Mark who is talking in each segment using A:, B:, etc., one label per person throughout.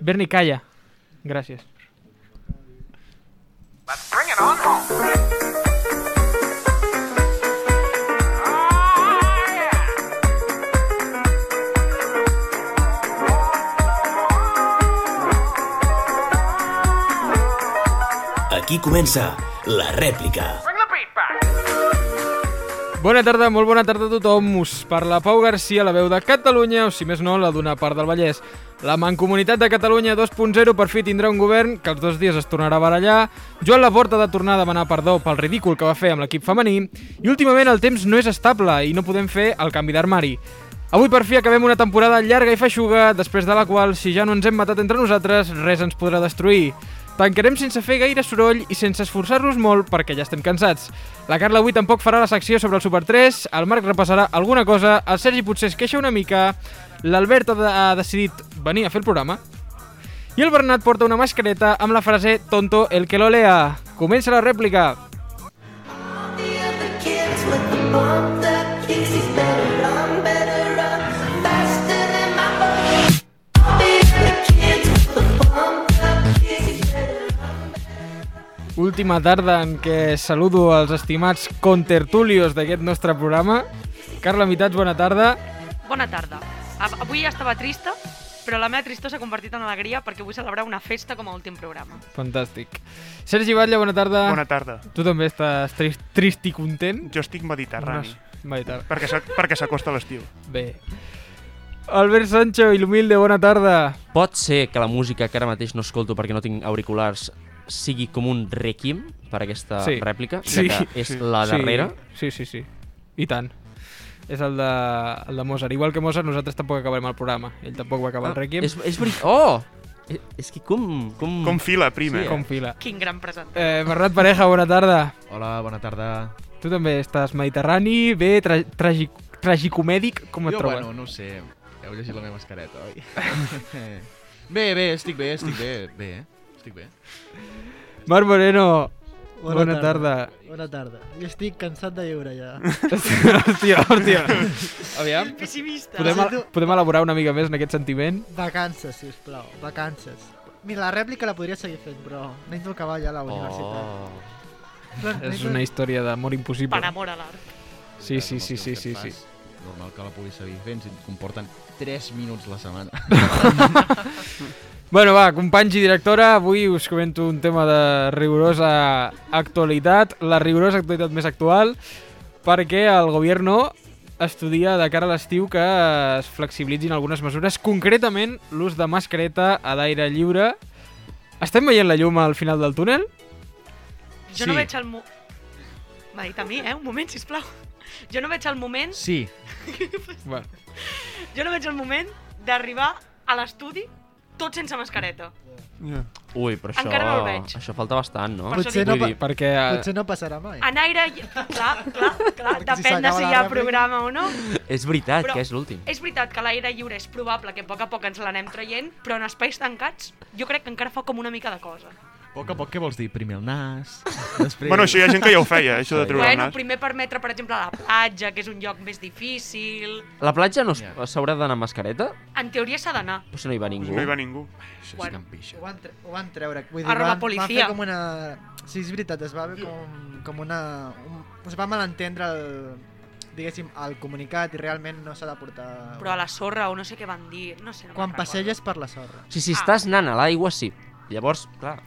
A: Bernie, calla. Gracias.
B: Aquí comença la rèplica.
A: Bona tarda, molt bona tarda a tothom. Us parla Pau Garcia, la veu de Catalunya, o si més no, la d'una part del Vallès. La Mancomunitat de Catalunya 2.0 per fi tindrà un govern que els dos dies es tornarà a barallar, Joan Laporta ha de tornar a demanar perdó pel ridícul que va fer amb l'equip femení, i últimament el temps no és estable i no podem fer el canvi d'armari. Avui per fi acabem una temporada llarga i feixuga, després de la qual, si ja no ens hem matat entre nosaltres, res ens podrà destruir. Tancarem sense fer gaire soroll i sense esforçar-nos molt perquè ja estem cansats. La Carla avui tampoc farà la secció sobre el Super 3, el Marc repassarà alguna cosa, el Sergi potser es queixa una mica, l'Albert ha, de- ha decidit venir a fer el programa i el Bernat porta una mascareta amb la frase «Tonto el que lo lea». Comença la rèplica.
C: The other kids with the bump that kicks, he's better run, better run, faster than my body. All the other kids with the bump that kicks, he's better
A: Última tarda en què saludo els estimats contertulios d'aquest nostre programa. Carla Mitats, bona tarda.
D: Bona tarda. Av- Avui estava trista, però la meva tristor s'ha convertit en alegria perquè vull celebrar una festa com a últim programa.
A: Fantàstic. Sergi Batlle, bona tarda.
E: Bona tarda.
A: Tu també estàs trist, trist i content?
E: Jo estic mediterrani.
A: Mai tard.
E: Perquè s'ac- perquè s'acosta l'estiu.
A: Bé. Albert Sancho i l'humilde, bona tarda.
F: Pot ser que la música que ara mateix no escolto perquè no tinc auriculars sigui com un requiem per aquesta
A: Sí.
F: rèplica,
A: Sí.
F: ja que és
E: Sí.
F: la darrera.
A: Sí, sí, sí. I tant. És el de, el de Mozart. Igual que Mozart, nosaltres tampoc acabarem el programa. Ell tampoc va acabar el Requiem.
F: Ah, és, és veritat. Oh! És, és que com... com...
E: Mm. Com fila, prima.
F: Sí, eh?
A: Com fila.
D: Quin gran present.
A: Eh, Bernat Pareja, bona tarda.
G: Hola, bona tarda.
A: Tu també estàs mediterrani, bé, tra tràgic, tragicomèdic, com et
G: jo,
A: trobes?
G: bueno, no ho sé. Heu llegit la meva mascareta, oi? bé, bé, estic bé, estic bé. Bé, eh? Estic bé.
A: Marc Moreno, bona, tarda.
H: Bona tarda. Jo estic cansat de viure ja.
A: hòstia, hòstia. Aviam,
D: Pessimista.
A: podem, el- podem elaborar una mica més en aquest sentiment?
H: Vacances, si us plau, vacances. Mira, la rèplica la podria seguir fent, però necessito acabar ja a la universitat.
F: Oh.
H: Clar,
A: Oh. És
H: necessito-
A: una història d'amor impossible.
D: Per amor a l'art.
A: Sí, sí,
G: Amb el
A: sí, sí,
G: teu que
A: sí,
G: et
A: sí.
G: fas, Normal que la puguis seguir fent si et comporten 3 minuts la setmana.
A: Bueno, va, companys i directora, avui us comento un tema de rigorosa actualitat, la rigorosa actualitat més actual, perquè el govern estudia de cara a l'estiu que es flexibilitzin algunes mesures, concretament l'ús de mascareta a l'aire lliure. Estem veient la llum al final del túnel?
D: Jo
A: Sí.
D: no veig el... Mo... M'ha dit a mi, eh? Un moment, sisplau. Jo no veig el moment...
G: Sí,
A: Bueno,
D: Jo no veig el moment d'arribar a l'estudi tot sense mascareta.
E: Yeah.
F: Ui, però això...
D: Encara no el veig.
F: Això falta bastant, no?
D: Per
H: Potser
D: això
H: no, eh,
F: dic-
H: pa
F: Vull
A: perquè...
F: dir-
H: potser no passarà mai.
D: En aire... i- Clar, clar, clar.
H: Perquè si
D: Depèn de
H: s'acaba
D: si
H: la
D: hi ha
H: rèplica.
D: programa o no.
F: És veritat
D: Però-
F: que és l'últim.
D: És veritat que l'aire lliure és probable que a poc a poc ens l'anem traient, però en espais tancats jo crec que encara fa com una mica de cosa.
G: a poc a poc què vols dir? Primer el nas, després...
E: Bueno, això hi ha gent que ja ho feia, això de treure el
D: Bueno,
E: nas.
D: primer permetre, per exemple, la platja, que és un lloc més difícil...
F: La platja no es-
G: Ja.
F: s'haurà d'anar amb mascareta?
D: En teoria s'ha d'anar.
F: Però si no hi va ningú.
E: No hi va ningú.
G: Això
D: Bueno.
G: sí que em pixa.
H: Ho van, tre ho van treure. Vull
D: Arma
H: van, van
D: policia.
H: fer com una... Sí, és veritat, es va haver com, com una... Un... Es va malentendre el, diguéssim, el comunicat i realment no s'ha de portar...
D: Però a la sorra o no sé què van dir, no sé. No
H: Quan
D: me'n recordo.
H: passeges per la sorra.
F: Si, si estàs anant a l'aigua, sí. Llavors, clar,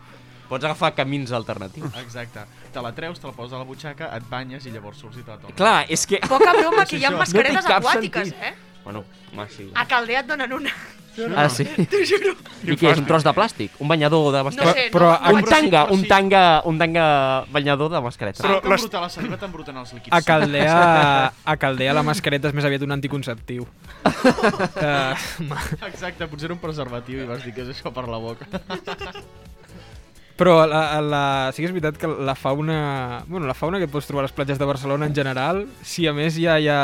F: pots agafar camins alternatius.
G: Mm. Exacte. Te la treus, te la poses a la butxaca, et banyes i llavors surts i te la tornes.
F: Clar, és que...
D: Poca broma
G: Sí,
D: que hi ha
G: això.
D: mascaretes
F: No té cap
D: aquàtiques,
F: sentit.
D: eh?
F: Bueno, home, sí.
D: A Caldea et donen una,
F: Ah, sí?
D: t'ho juro.
F: I què és, un tros de plàstic? Un banyador de
D: No
F: mascareta?
D: sé,
A: però
D: no, no
A: a-
F: un
D: vaig-
F: tanga,
G: però sí.
F: un tanga, un tanga banyador de mascareta.
E: Però
G: Però
E: les-
G: les... la saliva t'embruten els líquids.
A: A Caldea, a Caldea la mascareta és més aviat un anticonceptiu. Uh,
G: Exacte, potser era un preservatiu i vas dir que és això per la boca.
A: Però la, la, sí que és veritat que la fauna... Bueno, la fauna que et pots trobar a les platges de Barcelona en general, si a més hi ha, hi ha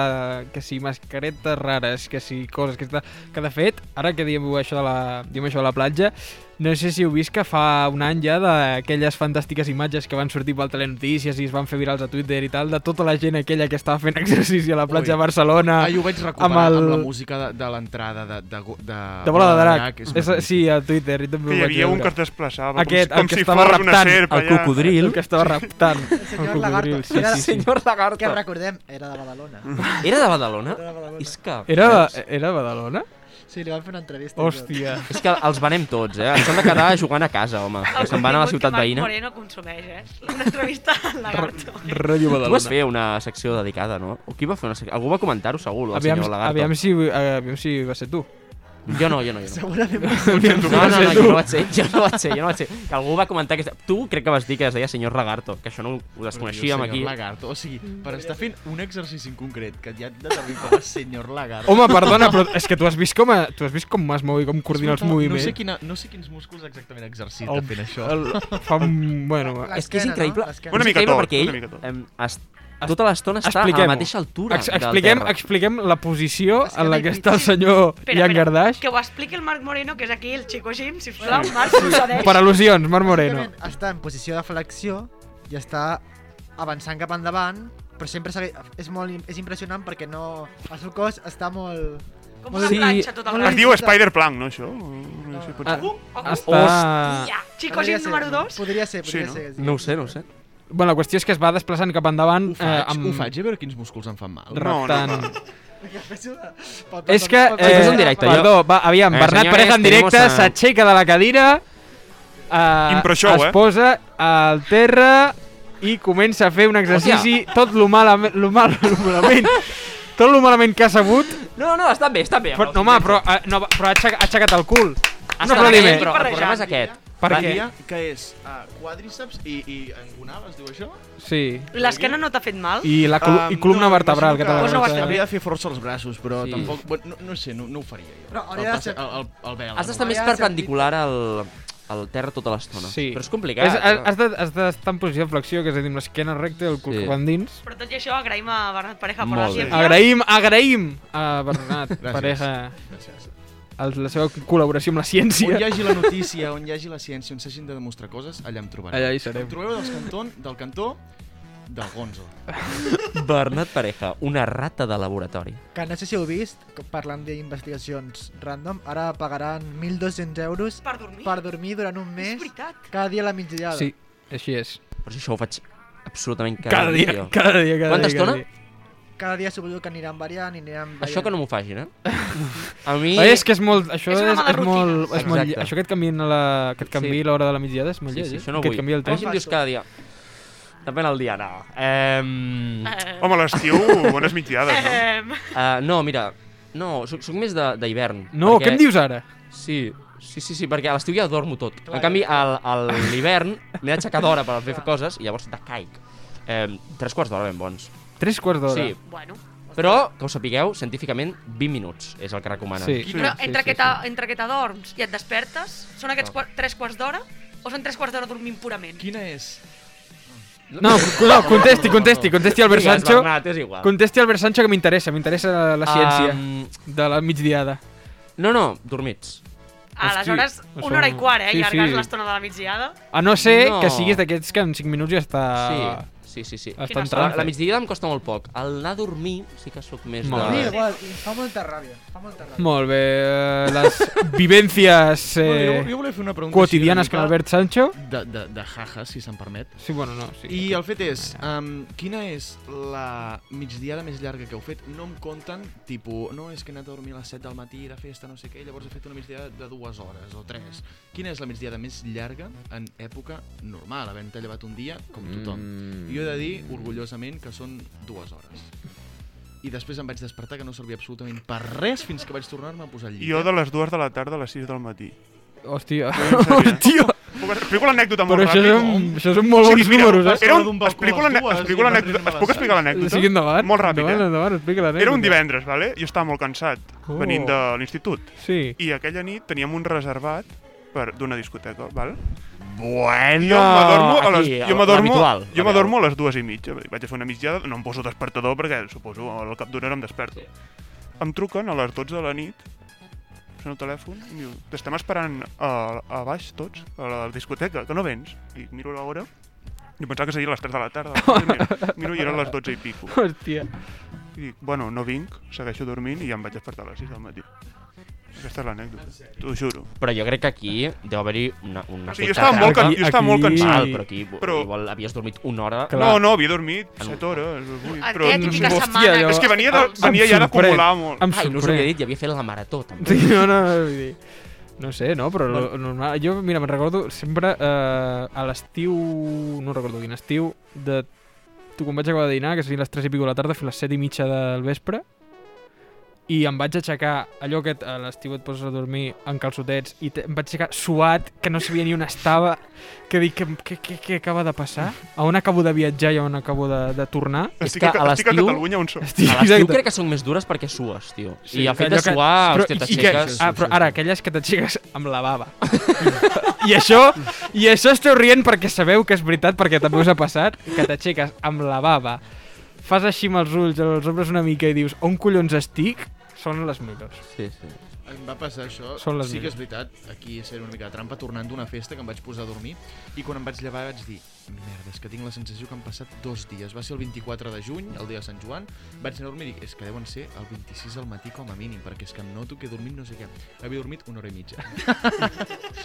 A: que si mascaretes rares, que si coses... Que, està- que de fet, ara que diem això de la, diem això de la platja, No sé si heu vist que fa un any ja d'aquelles fantàstiques imatges que van sortir pel Telenotícies i es van fer virals a Twitter i tal, de tota la gent aquella que estava fent exercici a la platja
G: Ui.
A: de Barcelona.
G: Ah, jo ho vaig recuperar
A: el-
G: amb, la música de, de l'entrada de, de, go- de,
A: De bola de drac.
G: és
A: És,
G: magnífic.
A: sí, a Twitter. Jo també
E: Que hi
A: ho vaig
E: havia un
A: veure.
E: que es desplaçava
A: Aquest,
E: com,
A: el que
E: si, com si
A: estava
E: fos una
A: raptant,
E: serp
F: El
E: allà.
F: cocodril
A: El que estava raptant. El
H: senyor
A: cocodril,
H: Lagarto.
A: Sí,
H: Era-
A: sí, sí.
F: senyor
H: Que
F: Lagarto.
H: recordem, era de Badalona.
F: Era de Badalona?
H: Era de Badalona.
F: És que...
A: Ah. Era, era Badalona?
H: Sí, li van fer una entrevista. i tot.
A: Hòstia.
F: És que els venem tots, eh? Ens han de quedar jugant a casa, home. Que se'n van a la ciutat veïna.
D: El contingut que Marc Moreno consumeix, eh? Una entrevista al Lagarto.
A: Ràdio
F: Tu vas
A: Badalona.
F: fer una secció dedicada, no? O qui va fer una secció? Algú va comentar-ho segur, el
A: Aviam,
F: senyor eh, Lagarto.
A: aviam, si, aviam si va ser tu.
F: Jo no, jo no, jo no.
H: Segurament va ser
A: Aviam si
F: No, no,
A: va
F: no,
A: ser
F: jo
A: tu.
F: no vaig ser, jo no vaig ser, jo no vaig ser. Que algú va comentar que... Tu crec que vas dir que es deia senyor Lagarto, que això no ho
G: Però
F: desconeixíem
G: diu
F: aquí.
G: senyor Lagarto. O sigui, per estar fent un exercici en concret que ja et determina com a senyor Lagarto.
A: Home, perdona, però és que tu has vist com, a, tu has vist com es mou i com coordina els
G: Escolta,
A: moviments.
G: No sé, quina, no sé quins músculs exactament exercita
A: El-
G: fent això.
A: El, fa un... Bueno, va.
F: És que és
H: L'esquena,
F: increïble.
H: no? L'esquena.
E: Una mica
F: Increïble
E: tot,
F: perquè
E: una
F: ell
E: mica tot.
F: em, es, tota l'estona està a
A: Expliquem-ho.
F: la mateixa altura
A: Ex expliquem,
F: del terra.
A: expliquem la posició
H: Esquena
A: en la
H: i
A: que
H: mig.
A: està el senyor Ian Gardaix.
D: que ho expliqui el Marc Moreno, que és aquí el Chico Jim, si sisplau, Marc, procedeix.
A: Per al·lusions, Marc Moreno.
H: Bàsicament, Està en posició de flexió i està avançant cap endavant, però sempre segueix, és molt im- és impressionant perquè no el seu cos està molt
D: Com una
A: Sí.
D: planxa tota tot el
H: Molt
E: Es
D: rato.
E: diu Spider Plank, no, això? No sé, potser.
A: Ah, Està...
F: Hòstia.
D: Chico
H: podria
D: Jim
H: ser,
D: número
H: no?
D: 2.
H: Podria ser, podria
E: Sí, no?
H: ser. que sí.
F: No ho sé, no ho sé.
A: Bueno, la qüestió és que es va desplaçant cap endavant
G: Ho faig,
A: eh, amb...
G: ho faig, a veure quins músculs em fan mal.
E: No, no,
A: Reptant.
E: no.
A: És que...
F: eh, Això és en directe, jo.
A: Perdó, va, aviam,
F: Eh,
A: Bernat
F: senyores,
A: Parés en directe
F: tenemos a-
A: s'aixeca de la cadira, eh,
E: Improshow,
A: es
E: eh?
A: posa al terra i comença a fer un exercici tot lo malament, lo mal, lo malament, tot lo malament que ha sabut.
F: No, no, està bé, està bé.
A: Però, no, home, però, eh, no, però ha aixecat, ha aixecat el cul.
F: Està
A: Un
F: bé,
A: aplaudiment.
F: però el problema és aquest.
A: Per
G: Va
A: què?
G: dir Que és uh, quadríceps i, i angonal, es diu això?
A: Sí.
D: I L'esquena no t'ha fet mal?
A: I, la col
G: Um,
A: i columna
G: no,
A: vertebral, que te
D: Pues
A: la
D: no ho
G: no,
D: has fet
G: Havia de fer força als braços, però
F: Sí.
G: sí. tampoc... bueno, No, no sé, no, no ho faria jo.
H: No,
G: el,
H: hauria de
G: passe-
H: ser-
G: el, el, el vela.
F: Has d'estar
G: no?
F: més
H: Ja,
F: perpendicular al, al terra tota l'estona.
A: Sí.
F: Però és complicat.
A: És, has-
F: eh?
A: has de- has d'estar en posició de flexió, que és a dir, amb l'esquena recta i el cul
F: Sí.
A: cap endins.
D: Però tot i això, agraïm a Bernat Pareja per Ah, la
F: Molt bé.
D: ciència.
A: Agraïm, agraïm a Bernat
G: Gràcies.
A: Pareja
G: Gràcies.
A: el, la seva col·laboració amb la ciència.
G: On hi hagi la notícia, on hi hagi la ciència, on s'hagin de demostrar coses, allà em trobareu.
A: Allà hi serem.
G: Em trobareu dels canton, del cantó del Gonzo.
F: Bernat Pareja, una rata de laboratori.
H: Que no sé si heu vist, com parlant d'investigacions random, ara pagaran 1.200 euros
D: Per dormir?
H: per dormir durant un
D: És
H: mes
D: veritat.
H: cada dia a la migdiada.
A: Sí, així és.
F: Però si això ho faig absolutament cada,
A: Cada dia,
F: tio.
A: cada dia, cada
F: Quanta
A: dia. cada
F: estona?
A: dia.
H: Cada dia suposo que aniran variant i aniran variant.
F: Això que no m'ho facin, eh? A mi...
A: Oi, és que és molt... Això
D: És
A: és,
D: una
A: és,
D: mala rutina.
A: molt... És molt lle-
F: Exacte.
A: això que et canviïn a la, que et canviï
F: Sí.
A: l'hora de la migdiada és molt
F: Sí,
A: lleig,
F: sí,
A: eh?
F: això no
A: que
F: vull.
A: et canviï el
F: Com
A: temps.
F: si em dius cada dia? Depèn del dia, no. Ehm...
D: Eh,
E: Home, a l'estiu, bones mitjades, no?
D: ehm,
F: Uh, no, mira, no, soc, soc més de- d'hivern.
A: No, què em dius ara?
F: Sí, sí, sí, sí perquè a l'estiu ja dormo tot. Clar, en canvi, al- al- a l'hivern m'he d'aixecar d'hora per fer coses i llavors decaic. Eh, tres quarts d'hora ben bons.
A: Tres quarts d'hora.
F: Sí,
D: bueno.
F: però, que ho sapigueu, científicament 20 minuts és el que recomanen.
A: sí. sí.
D: Però entre,
A: sí,
D: que
A: sí.
D: t'a- entre que t'adorms i et despertes, són aquests qua- tres quarts d'hora o són tres quarts d'hora dormint purament?
G: Quina és?
A: No, no, contesti, contesti, contesti Albert
F: Digues,
A: Sancho.
F: Bernat, és igual.
A: Contesti Albert Sancho que m'interessa, m'interessa la, la ciència
F: Ehm,
A: de la migdiada.
F: no, no, dormits.
D: Aleshores,
A: Hosti,
D: una hora i
A: això-
D: quart, eh?
A: sí,
D: Llargues
A: sí.
D: l'estona de la migdiada.
A: A no ser
F: No.
A: que siguis d'aquests que en 5 minuts ja està...
F: Ah, Sí, sí, sí, sí.
A: Està
D: Quina
A: entrant.
F: La, la migdiada em costa molt poc. El anar a dormir sí que sóc més
A: Molt
H: A mi
A: bé.
F: de...
H: igual, i em fa molta ràbia, em fa molta ràbia.
A: Molt bé, eh, les vivències
G: Eh... Bueno,
A: eh,
G: jo, jo volia fer una pregunta
A: quotidianes
G: així
A: con
G: una mica
A: Albert Sancho.
G: De, de, de jaja, si se'n permet.
A: Sí, bueno, no, sí.
G: I el fet és, um, quina és la migdiada més llarga que heu fet? No em compten, tipus, no, és que he anat a dormir a les 7 del matí de festa, no sé què, i llavors he fet una migdiada de dues hores o tres. Quina és la migdiada més llarga en època normal, havent-te llevat un dia, com tothom? Mm. Jo he de dir, orgullosament, que són dues hores. I després em vaig despertar que no servia absolutament per res fins que vaig tornar-me a posar al llit.
E: Jo de les dues de la tarda a les 6 del matí.
A: Hòstia,
E: sèrio.
A: hòstia,
E: Puc- Explico l'anècdota molt
A: però això
E: ràpid.
A: són, això són molt
E: O
A: bons
E: sigui, mira,
A: números, eh?
E: Era
G: Sobre d'un
E: un,
G: balcó
E: explico
G: a les
E: l'anè-
G: dues
E: explico
G: i
E: l'anècdota.
G: barrem-ne
E: Es puc
G: les
E: explicar l'anècdota?
A: Sí, endavant.
E: Molt ràpid,
A: endavant,
E: eh?
A: Endavant, explica l'anècdota.
E: Era un divendres, vale? jo estava molt cansat,
A: Oh.
E: venint de l'institut.
A: Sí.
E: I aquella nit teníem un reservat per d'una discoteca, val? Bueno, jo m'adormo a les,
F: aquí,
E: jo m'adormo,
F: l'habitual,
E: jo m'adormo a les dues i mitja. Vaig a fer una mitjada, no em poso despertador perquè suposo al cap d'una hora em desperto. Em truquen a les 12 de la nit sona el telèfon i em diu, t'estem esperant a, a baix tots, a la discoteca, que no vens. I miro l'hora i em pensava que seria a les 3 de la tarda. I miro, miro i eren les 12 i pico.
A: Hòstia.
E: I dic, bueno, no vinc, segueixo dormint i ja em vaig despertar a les 6 del matí. Aquesta és l'anècdota, t'ho juro.
F: Però jo crec que aquí deu haver-hi una, una
E: O sigui, jo
F: certa-
E: estava molt, can...
A: Aquí-
E: jo estava molt
A: aquí-
E: cansat.
F: Val, però aquí però...
E: Però-
F: igual havies dormit una hora.
A: Clar.
E: Ah, No, no, havia dormit 7 hores, vuit,
D: Aquella
E: però...
A: típica
D: típica
A: hòstia,
D: setmana...
A: jo-
D: que-
E: És que venia,
G: Ah,
E: de,
A: Em
E: venia ja
A: sorprèn.
E: d'acumular molt.
A: Em
F: Ah, i no us ho havia
A: sorprèn.
F: dit, i havia fet la marató, també.
A: Sí, no, no, vull dir... No sé, no, però lo- normal. Jo, mira, me'n recordo sempre eh, a l'estiu, no recordo quin estiu, de tu quan vaig acabar de dinar, que serien les 3 i pico de la tarda, fins les 7 i mitja del vespre, i em vaig aixecar allò que a l'estiu et poses a dormir en calçotets i te, em vaig aixecar suat, que no sabia ni on estava, que dic, què, què, què acaba de passar? A on acabo de viatjar i a on acabo de, de tornar?
E: Estic,
F: que
E: a,
F: a
E: estic a
F: l'estiu-
E: Catalunya on som.
A: Estic,
F: A l'estiu crec que són més dures perquè sues, tio. Sí, I el fet de
A: allò que-
F: suar,
A: però- i- i
F: hòstia,
A: que-
F: t'aixeques...
A: Ah, però ara, aquelles que t'aixeques amb la bava. I això, i això esteu rient perquè sabeu que és veritat, perquè també us ha passat, que t'aixeques amb la bava, fas així amb els ulls, els ombres una mica i dius, on collons estic? Són les millors.
F: Sí, sí.
G: Em va passar això,
A: Són les
G: sí que
A: meves.
G: és veritat, aquí ser una mica de trampa, tornant d'una festa que em vaig posar a dormir, i quan em vaig llevar vaig dir, merda, és que tinc la sensació que han passat dos dies. Va ser el 24 de juny, el dia de Sant Joan, vaig anar a dormir i dic, és que deuen ser el 26 al matí com a mínim, perquè és que em noto que he dormit no sé què. Havia dormit una hora i mitja.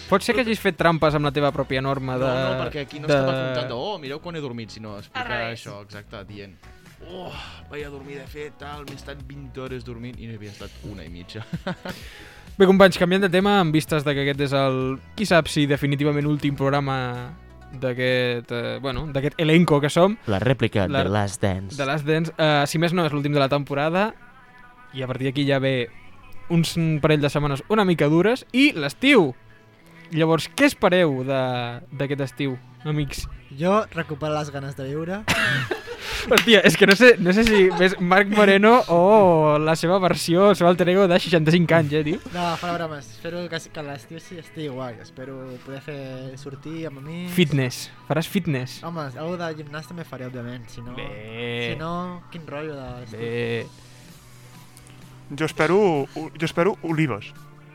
A: Pot ser que hagis fet trampes amb la teva pròpia norma de...
G: No, no, perquè aquí no
A: de-
G: estava comptant de, oh, mireu quan he dormit, sinó explicar
D: revés.
G: això, exacte, dient, oh, vaig a dormir de fet, tal, m'he estat 20 hores dormint i no havia estat una i mitja.
A: Bé, companys, canviant de tema, en vistes de que aquest és el, qui sap si definitivament últim programa d'aquest, eh, bueno, d'aquest elenco que som,
F: La rèplica
A: La-
F: de Last Dance.
A: De Last Dance, uh, si més no, és l'últim de la temporada i a partir d'aquí ja ve uns parell de setmanes una mica dures i l'estiu. Llavors, què espereu de- d'aquest estiu, amics?
H: Jo recuperar les ganes de viure.
A: Hòstia, és que no sé, no sé si és Marc Moreno o la seva versió, el seu alter ego de 65 anys, eh, tio?
H: No, fora bromes. Espero que, que l'estiu sí estigui guai. Espero poder fer sortir amb amics.
A: Fitness. Faràs fitness.
H: Home, alguna de gimnàs també faré, òbviament. Si no,
A: Bé.
H: si no quin rotllo de l'estiu.
A: Bé.
E: Jo espero, jo espero olives.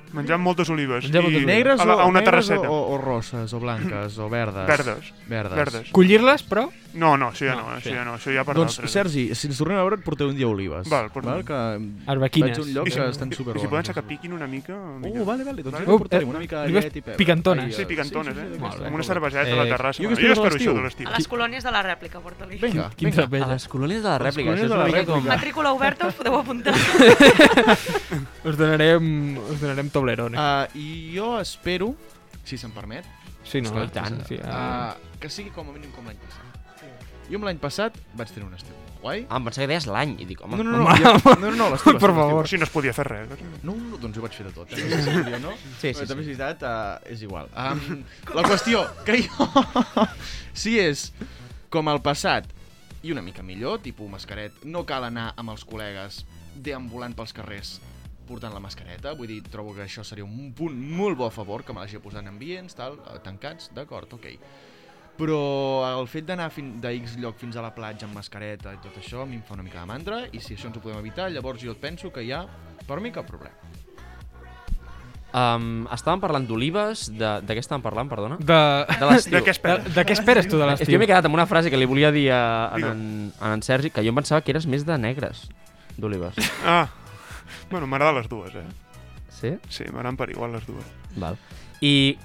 E: Menjar moltes olives.
A: Menjar moltes
E: i
A: olives.
E: a, la, a una terrasseta.
G: Doncs O, o, roses, o blanques, o verdes.
E: Verdes.
G: Verdes.
E: Verdes.
A: Collir-les, però...
E: No, no, això ja no,
A: No, sí.
E: això ja no, això ja per
G: Doncs,
E: d'altres. eh.
G: Sergi, si ens tornem a veure, et porteu un dia olives.
E: Val, portem.
G: val que
A: Arbequines.
G: Vaig a un lloc
E: I si-
G: que estan
E: i-
G: super
E: I si poden ser que piquin una mica...
G: Uh, vale, vale, doncs
E: Vale.
G: vale.
A: Uh,
G: jo portaré
A: eh,
G: una mica de
A: olives
G: llet i pebre.
A: picantones.
G: Ai,
E: Sí, picantones, eh?
A: Molt bé.
E: Amb una cerveseta a la
A: Eh,
E: terrassa.
G: jo
E: Jo,
G: que espero
E: espero
G: l'estiu.
E: això de l'estiu.
D: A les colònies de la rèplica, porta-li.
G: Vinga,
A: Quinze
G: vinga.
F: A
A: peces.
F: les colònies de la rèplica,
G: colònies
F: això és
G: de la
F: una mica com...
G: rèplica.
D: Matrícula oberta, us podeu apuntar.
A: Us donarem, us donarem Toblerone.
G: Uh, I jo espero, si se'n permet,
A: sí, no?
F: i tant.
A: Sí, ah.
G: uh, que sigui com a mínim com l'any passat. Jo amb l'any passat vaig tenir un estiu molt guai.
F: Ah, em pensava que deies l'any, i dic, home...
G: No, no, no, jo, no, no, no l'estiu,
A: Per
G: l'estiu,
A: favor.
E: Si no es podia fer res. eh?
G: No, no, doncs jo vaig fer de tot. Eh? No sé si diria, no?
F: Sí, sí,
G: Però també
F: sí.
G: és veritat, uh, és igual. Um, la qüestió que jo... sí, és com el passat i una mica millor, tipus mascaret. No cal anar amb els col·legues deambulant pels carrers portant la mascareta, vull dir, trobo que això seria un punt molt bo a favor, que me l'hagi posat en ambients, tal, eh, tancats, d'acord, ok. Però el fet d'anar fin- de X lloc fins a la platja amb mascareta i tot això, a mi em fa una mica de mandra, i si això ens ho podem evitar, llavors jo et penso que hi ha, per mi, cap problema.
F: Um, estàvem parlant d'olives, de, de què estàvem parlant, perdona?
A: De...
F: De l'estiu.
E: De què
A: De,
E: esperes?
A: de què esperes tu de
F: És que jo
A: l'estiu?
F: m'he quedat amb una frase que li volia dir a, a,
E: Digue.
F: en, a en Sergi, que jo em pensava que eres més de negres, d'olives.
E: Ah, bueno, m'agraden les dues, eh?
F: Sí?
E: Sí, m'agraden per igual les dues.
F: Val. I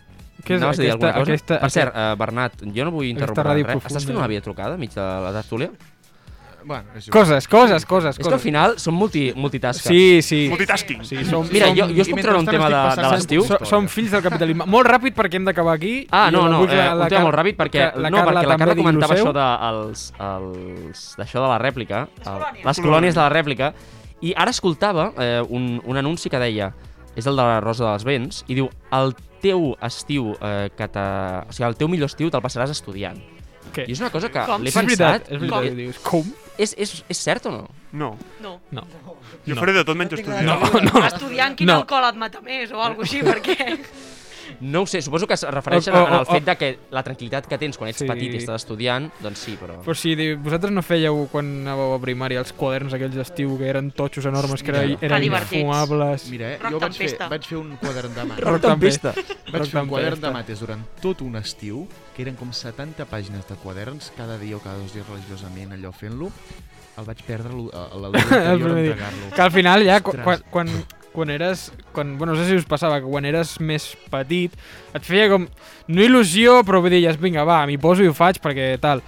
A: Què és
F: anaves a dir
A: aquesta-
F: alguna cosa?
A: aquesta-
F: per cert, uh, Bernat, jo no vull interrompre
A: ràdio
F: res.
A: profunda.
F: Estàs fent una via trucada mig de la tertúlia?
G: Bueno, és igual.
A: Coses, coses, coses,
F: És que al
A: coses.
F: final som multi, multitasques.
A: Sí, sí.
E: Multitasking.
A: sí som,
F: Mira,
A: som,
F: jo, jo us
G: i
F: puc treure un
G: mentrestant
F: tema de,
G: estic
F: de
G: passant
F: l'estiu.
A: so- som fills del capitalisme. Molt ràpid perquè hem d'acabar aquí.
F: Ah,
A: I
F: no, no,
A: vull que
F: eh, un tema
A: Car-
F: molt ràpid perquè
A: que
F: la, no, perquè la
A: també
F: Carla
A: digui
F: comentava
A: lo seu.
F: això de, els, els, d'això de la rèplica, les
D: colònies.
F: les colònies de la rèplica, i ara escoltava eh, un, un anunci que deia, és el de la Rosa dels Vents, i diu, el teu estiu, eh, que te... o sigui, el teu millor estiu te'l passaràs estudiant.
A: Què?
F: I és una cosa que
D: Com?
F: l'he
A: És veritat,
F: pensat...
A: és veritat.
F: i-
A: i Dius, com?
F: És, és, és cert o no?
E: No,
D: No.
A: No. No.
E: jo faré de tot menys
H: No tinc
E: estudiar.
H: ganes de viure.
D: Estudiant quin
A: No.
D: alcohol et mata més o alguna així, perquè...
F: No ho sé, suposo que es refereixen
A: O- o-
F: al
A: o-
F: fet de que la tranquil·litat que tens quan ets
A: Sí.
F: petit i estàs estudiant, doncs sí, però...
A: Però si di- vosaltres no fèieu quan anàveu a primària els quaderns aquells d'estiu que eren totxos enormes, que era,
G: Hòstia.
A: eren
D: Que divertits.
A: infumables...
G: Mira, eh,
D: Rock
G: jo vaig fer,
D: Tempesta.
G: vaig fer un quadern de mates.
A: Rock Tempesta.
G: Vaig fer un quadern de
A: Tempesta.
G: mates durant tot un estiu, que eren com 70 pàgines de quaderns, cada dia o cada dos dies religiosament allò fent-lo. El vaig perdre l'u- eh, a- a la luna
A: El
G: anterior
A: primer
G: d'entregar-lo.
A: dia. Que al final ja, quan,
G: Ostres.
A: quan, quan, quan eres... Quan, bueno, no sé si us passava, que quan eres més petit et feia com... No il·lusió, però vull dir, ja, vinga, va, m'hi poso i ho faig perquè tal.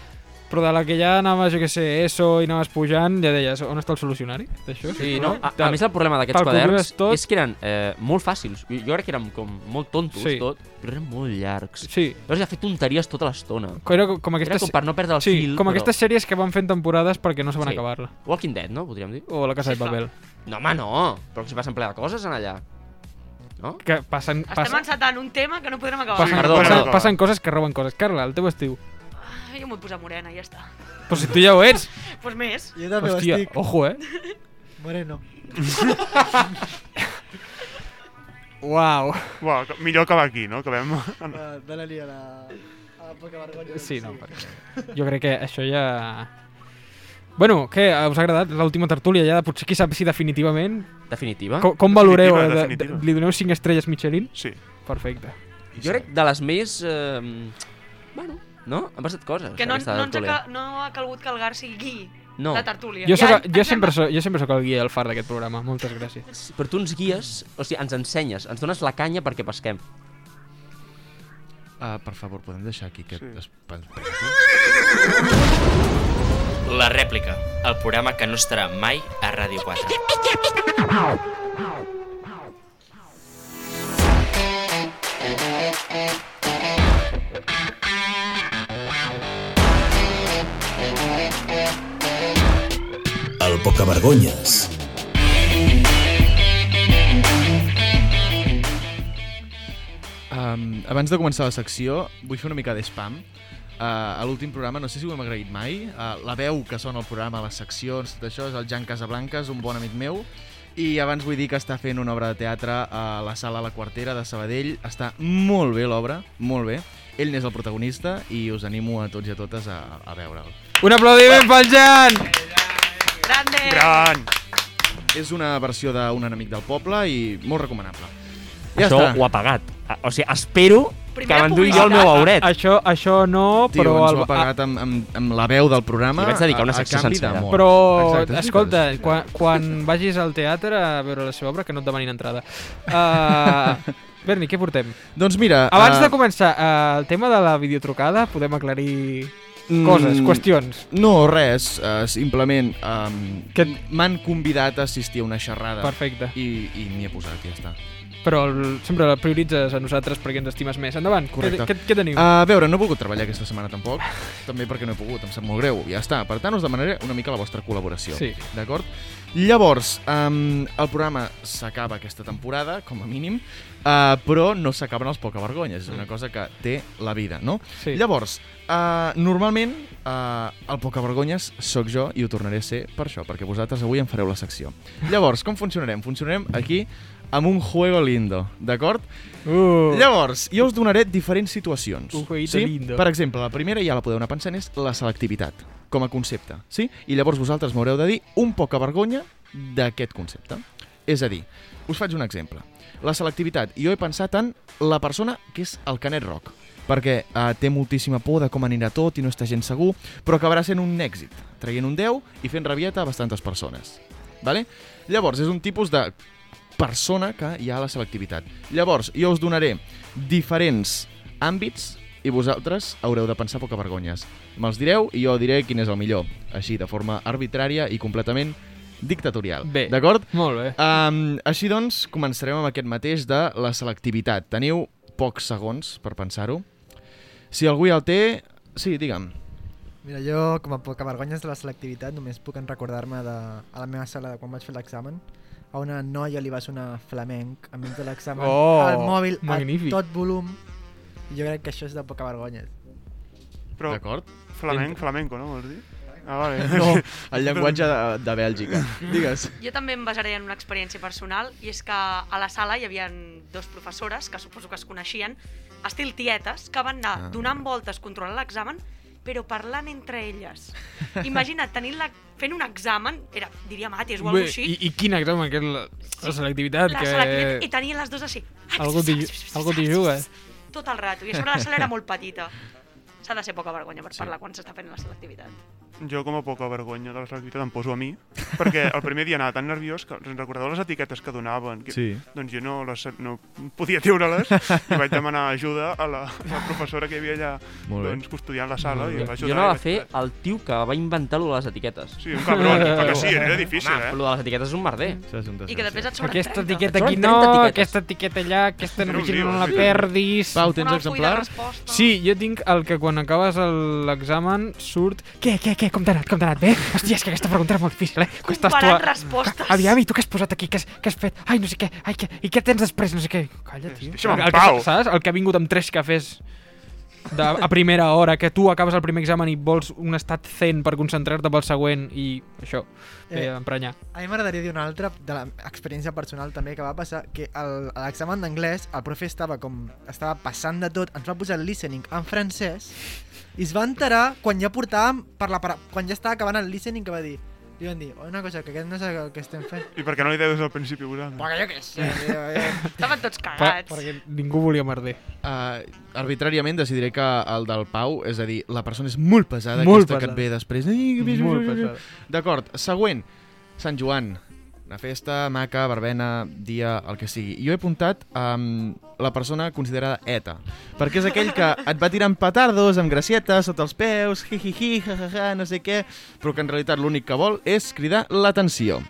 A: Però de la que ja anaves, jo què sé, ESO i anaves pujant, ja deies, on està el solucionari d'això?
F: Sí, no? A, a
A: Tal.
F: més, el problema d'aquests
A: Te'l
F: quaderns
A: calcules tot.
F: és que eren eh, molt fàcils. Jo, jo crec que eren com molt tontos,
A: Sí.
F: tot, però eren molt llargs.
A: Sí,
F: Llavors ja fer tonteries tota l'estona.
A: era com
F: Era
A: aquestes...
F: com per no perdre el
A: sí,
F: fil,
A: com
F: però...
A: aquestes sèries que van fent temporades perquè no saben
F: Sí.
A: sí. acabar-la.
F: Walking Dead, no? Podríem dir.
A: O la Casa de
D: Sí, clar.
A: Papel.
F: No, home, no! Però que s'hi passen ple de coses, en allà. No? Ah,
A: Que passen...
D: Estem
A: passen...
D: encetant un tema que no podrem acabar.
A: Passen,
F: Perdó,
A: passen,
E: perdó.
A: passen coses que roben coses. Carla, el teu estiu.
D: Ah, jo m'ho he posat morena, ja està.
A: Però si tu ja ho ets.
D: Doncs pues més.
H: Jo també ho
A: Hòstia,
H: estic.
A: ojo, eh?
H: Moreno.
A: Uau.
E: Uau, que- millor acabar aquí, no? Acabem... En...
H: Va, Dóna-li a Ah, la... A la poca vergonya.
A: Sí, no, perquè jo crec que això ja... Bueno, què, us ha agradat l'última tertúlia ja? Potser qui sap si definitivament...
F: Definitiva.
A: Com, com valoreu?
E: Definitiva,
A: eh, de, de,
E: definitiva.
A: li doneu 5 estrelles Michelin?
E: Sí.
A: Perfecte.
F: Jo crec de les més... Eh, bueno, no? Han passat coses.
D: Que no,
F: aquesta
D: no, ens ha,
F: tertúlia.
D: cal- no ha calgut que el Garci guiï
F: No,
D: la tertúlia.
A: Jo, soc, jo,
D: ens
A: sempre
D: hem-
A: soc, jo sempre soc el guia del far d'aquest programa. Moltes gràcies.
F: Sí, però tu ens guies, o sigui, ens ensenyes, ens dones la canya perquè pesquem.
G: Ah, per favor, podem deixar aquí aquest...
E: Sí.
G: Sí.
I: La rèplica, el programa que no estarà mai a Ràdio 4.
B: El Pocavergonyes.
G: Um, abans de començar la secció, vull fer una mica de spam. Uh, a l'últim programa, no sé si ho hem agraït mai, uh, la veu que sona al programa, les seccions, tot això, és el Jan Casablanca, és un bon amic meu, i abans vull dir que està fent una obra de teatre a la sala La Quartera de Sabadell. Està molt bé l'obra, molt bé. Ell n'és el protagonista i us animo a tots i a totes a, a veure'l.
A: Un aplaudiment pel Jan!
D: Grande!
E: Gran!
G: És una versió d'un enemic del poble i molt recomanable. Ja
F: Ja Això
G: està.
F: ho ha pagat. A- O sigui, espero
D: Primera
F: que m'endugui jo el
D: publicitat.
F: meu auret.
A: Això, això no,
G: Tio,
A: però...
G: ens
A: el-
G: ho ha pagat amb, amb, amb la veu del programa
F: Li vaig dedicar una
G: a- a
F: secció
G: canvi
F: sencera.
G: d'amor.
A: Ah, Però,
G: Exacte, és
A: escolta,
G: veritat.
A: quan, quan vagis al teatre a veure la seva obra, que no et demanin entrada. Uh, Berni, què portem?
G: Doncs mira...
A: Abans
G: eh,
A: de començar, eh, el tema de la videotrucada, podem aclarir coses,
G: Mm.
A: qüestions.
G: No, res, uh, simplement um,
A: Que-
G: que... m'han convidat a assistir a una xerrada
A: Perfecte.
G: i, i m'hi he posat, ja està.
A: Però el, sempre la prioritzes a nosaltres perquè ens estimes més. Endavant,
G: Correcte. Eh,
A: Què, què, què teniu?
G: A veure, no he volgut treballar aquesta setmana tampoc, també perquè no he pogut, em sap molt greu, ja està. Per tant, us demanaré una mica la vostra col·laboració,
A: Sí.
G: d'acord? Llavors, um, el programa s'acaba aquesta temporada, com a mínim, uh, però no s'acaben els pocavergonyes, és una cosa que té la vida, no?
A: Mm. Sí.
G: Llavors, uh, normalment uh, el Pocavergonyes sóc jo i ho tornaré a ser per això, perquè vosaltres avui em fareu la secció. Llavors, com funcionarem? Funcionarem aquí amb un juego lindo, d'acord?
A: Uh,
G: Llavors, jo us donaré diferents situacions.
A: Un jueguito lindo.
G: Per exemple, la primera, ja la podeu anar pensant, és la selectivitat, com a concepte, sí? I llavors vosaltres m'haureu de dir un poca vergonya d'aquest concepte. És a dir, us faig un exemple. La selectivitat, jo he pensat en la persona que és el Canet Rock, perquè eh, té moltíssima por de com anirà tot i no està gens segur, però acabarà sent un èxit, traient un 10 i fent rabieta a bastantes persones. Vale? Llavors, és un tipus de persona que hi ha a la selectivitat. Llavors, jo us donaré diferents àmbits i vosaltres haureu de pensar poca vergonyes. Me'ls direu i jo diré quin és el millor. Així, de forma arbitrària i completament dictatorial.
A: Bé.
G: D'acord?
A: Molt bé.
G: Um, així doncs, començarem amb aquest mateix de la selectivitat. Teniu pocs segons per pensar-ho. Si algú ja el té... Sí, digue'm.
H: Mira, jo com a poca vergonyes de la selectivitat només puc en recordar-me de a la meva sala de quan vaig fer l'examen a una noia li va sonar flamenc enmig de l'examen,
A: Oh,
H: al mòbil
A: magnífic.
H: a tot volum i jo crec que això és de poca vergonyes
E: Però
G: D'acord?
E: flamenc, flamenco, no vols dir? Ah, vale.
G: No, el llenguatge de, de Bèlgica. Digues.
D: Jo també em basaré en una experiència personal i és que a la sala hi havia dos professores que suposo que es coneixien, estil tietes, que van anar donant voltes controlant l'examen però parlant entre elles. Imagina't, tenint la, fent un examen, era, diríem àties
A: Bé,
D: o alguna cosa així,
A: I, I quin examen, que és la, la selectivitat,
D: la
A: que...
D: selectivitat, i tenien les dues així.
A: Algú t'hi- algú t'hi juga.
D: Tot el rato, i a sobre la sala era molt petita. S'ha de ser poca vergonya per parlar quan s'està fent la selectivitat.
E: Jo com a poca vergonya de la selectivitat em poso a mi, perquè el primer dia anava tan nerviós que us en recordeu les etiquetes que donaven? Que,
G: Sí.
E: Doncs jo no, les, no podia treure-les i vaig demanar ajuda a la, a la professora que hi havia allà
G: Molt bé.
E: doncs, custodiant la sala i em va
F: Jo
E: ajudar.
F: anava
E: i
F: a fer
E: vaig-
F: el tio que va inventar lo de les etiquetes.
E: Sí, un cabron, perquè sí, era difícil,
F: Home,
E: eh?
F: lo de les etiquetes és un merder.
D: I que després et sobren
A: Aquesta
D: 30.
A: etiqueta
F: Són
A: aquí
F: 30
A: no,
F: etiquetes.
A: aquesta etiqueta allà, aquesta
E: Era
A: no,
E: un lío,
A: no la
E: sí.
A: perdis.
G: Pau,
D: Un
G: tens
D: alfull de
G: exemplar?
D: resposta.
A: Sí, jo tinc el que quan acabes el- l'examen surt... Què, què, què, com t'ha anat, com t'ha anat, bé? Hòstia, és que aquesta pregunta era molt difícil, eh? Que estàs
D: Comparant
A: a-
D: respostes.
A: Aviam, i tu què has posat aquí? Què has, què has fet? Ai, no sé què, ai, què, i què tens després, no sé què. Calla, tio.
E: Deixa'm en
A: El que-
E: pau.
A: Saps? El que ha vingut amb tres cafès de, a primera hora, que tu acabes el primer examen i vols un estat zen per concentrar-te pel següent i això, eh,
H: Eh.
A: emprenyar.
H: A mi m'agradaria dir una altra de l'experiència personal també que va passar, que el- a l'examen d'anglès el profe estava com estava passant de tot, ens va posar el listening en francès i es va enterar quan ja portàvem per la, para- quan ja estava acabant el listening que va dir li van dir, "Oh, una cosa, que aquest no és el que estem fent.
E: I perquè no li deies al principi vosaltres?
H: Perquè jo què sé, jo, jo.
D: Estaven tots
A: Per,
D: cagats.
A: eh? perquè ningú volia merder.
G: Uh, arbitràriament decidiré que el del Pau, és a dir, la persona és molt pesada,
A: Molt
G: aquesta que
A: pesada.
G: et ve després. Ai, que-
A: Molt pesada.
G: D'acord, següent. Sant Joan. Una festa, maca, verbena, dia, el que sigui. Jo he apuntat um, la persona considerada ETA, perquè és aquell que et va tirant petardos amb gracietes sota els peus, hi, hi, hi, ha, ha, ha, no sé què, però que en realitat l'únic que vol és cridar l'atenció.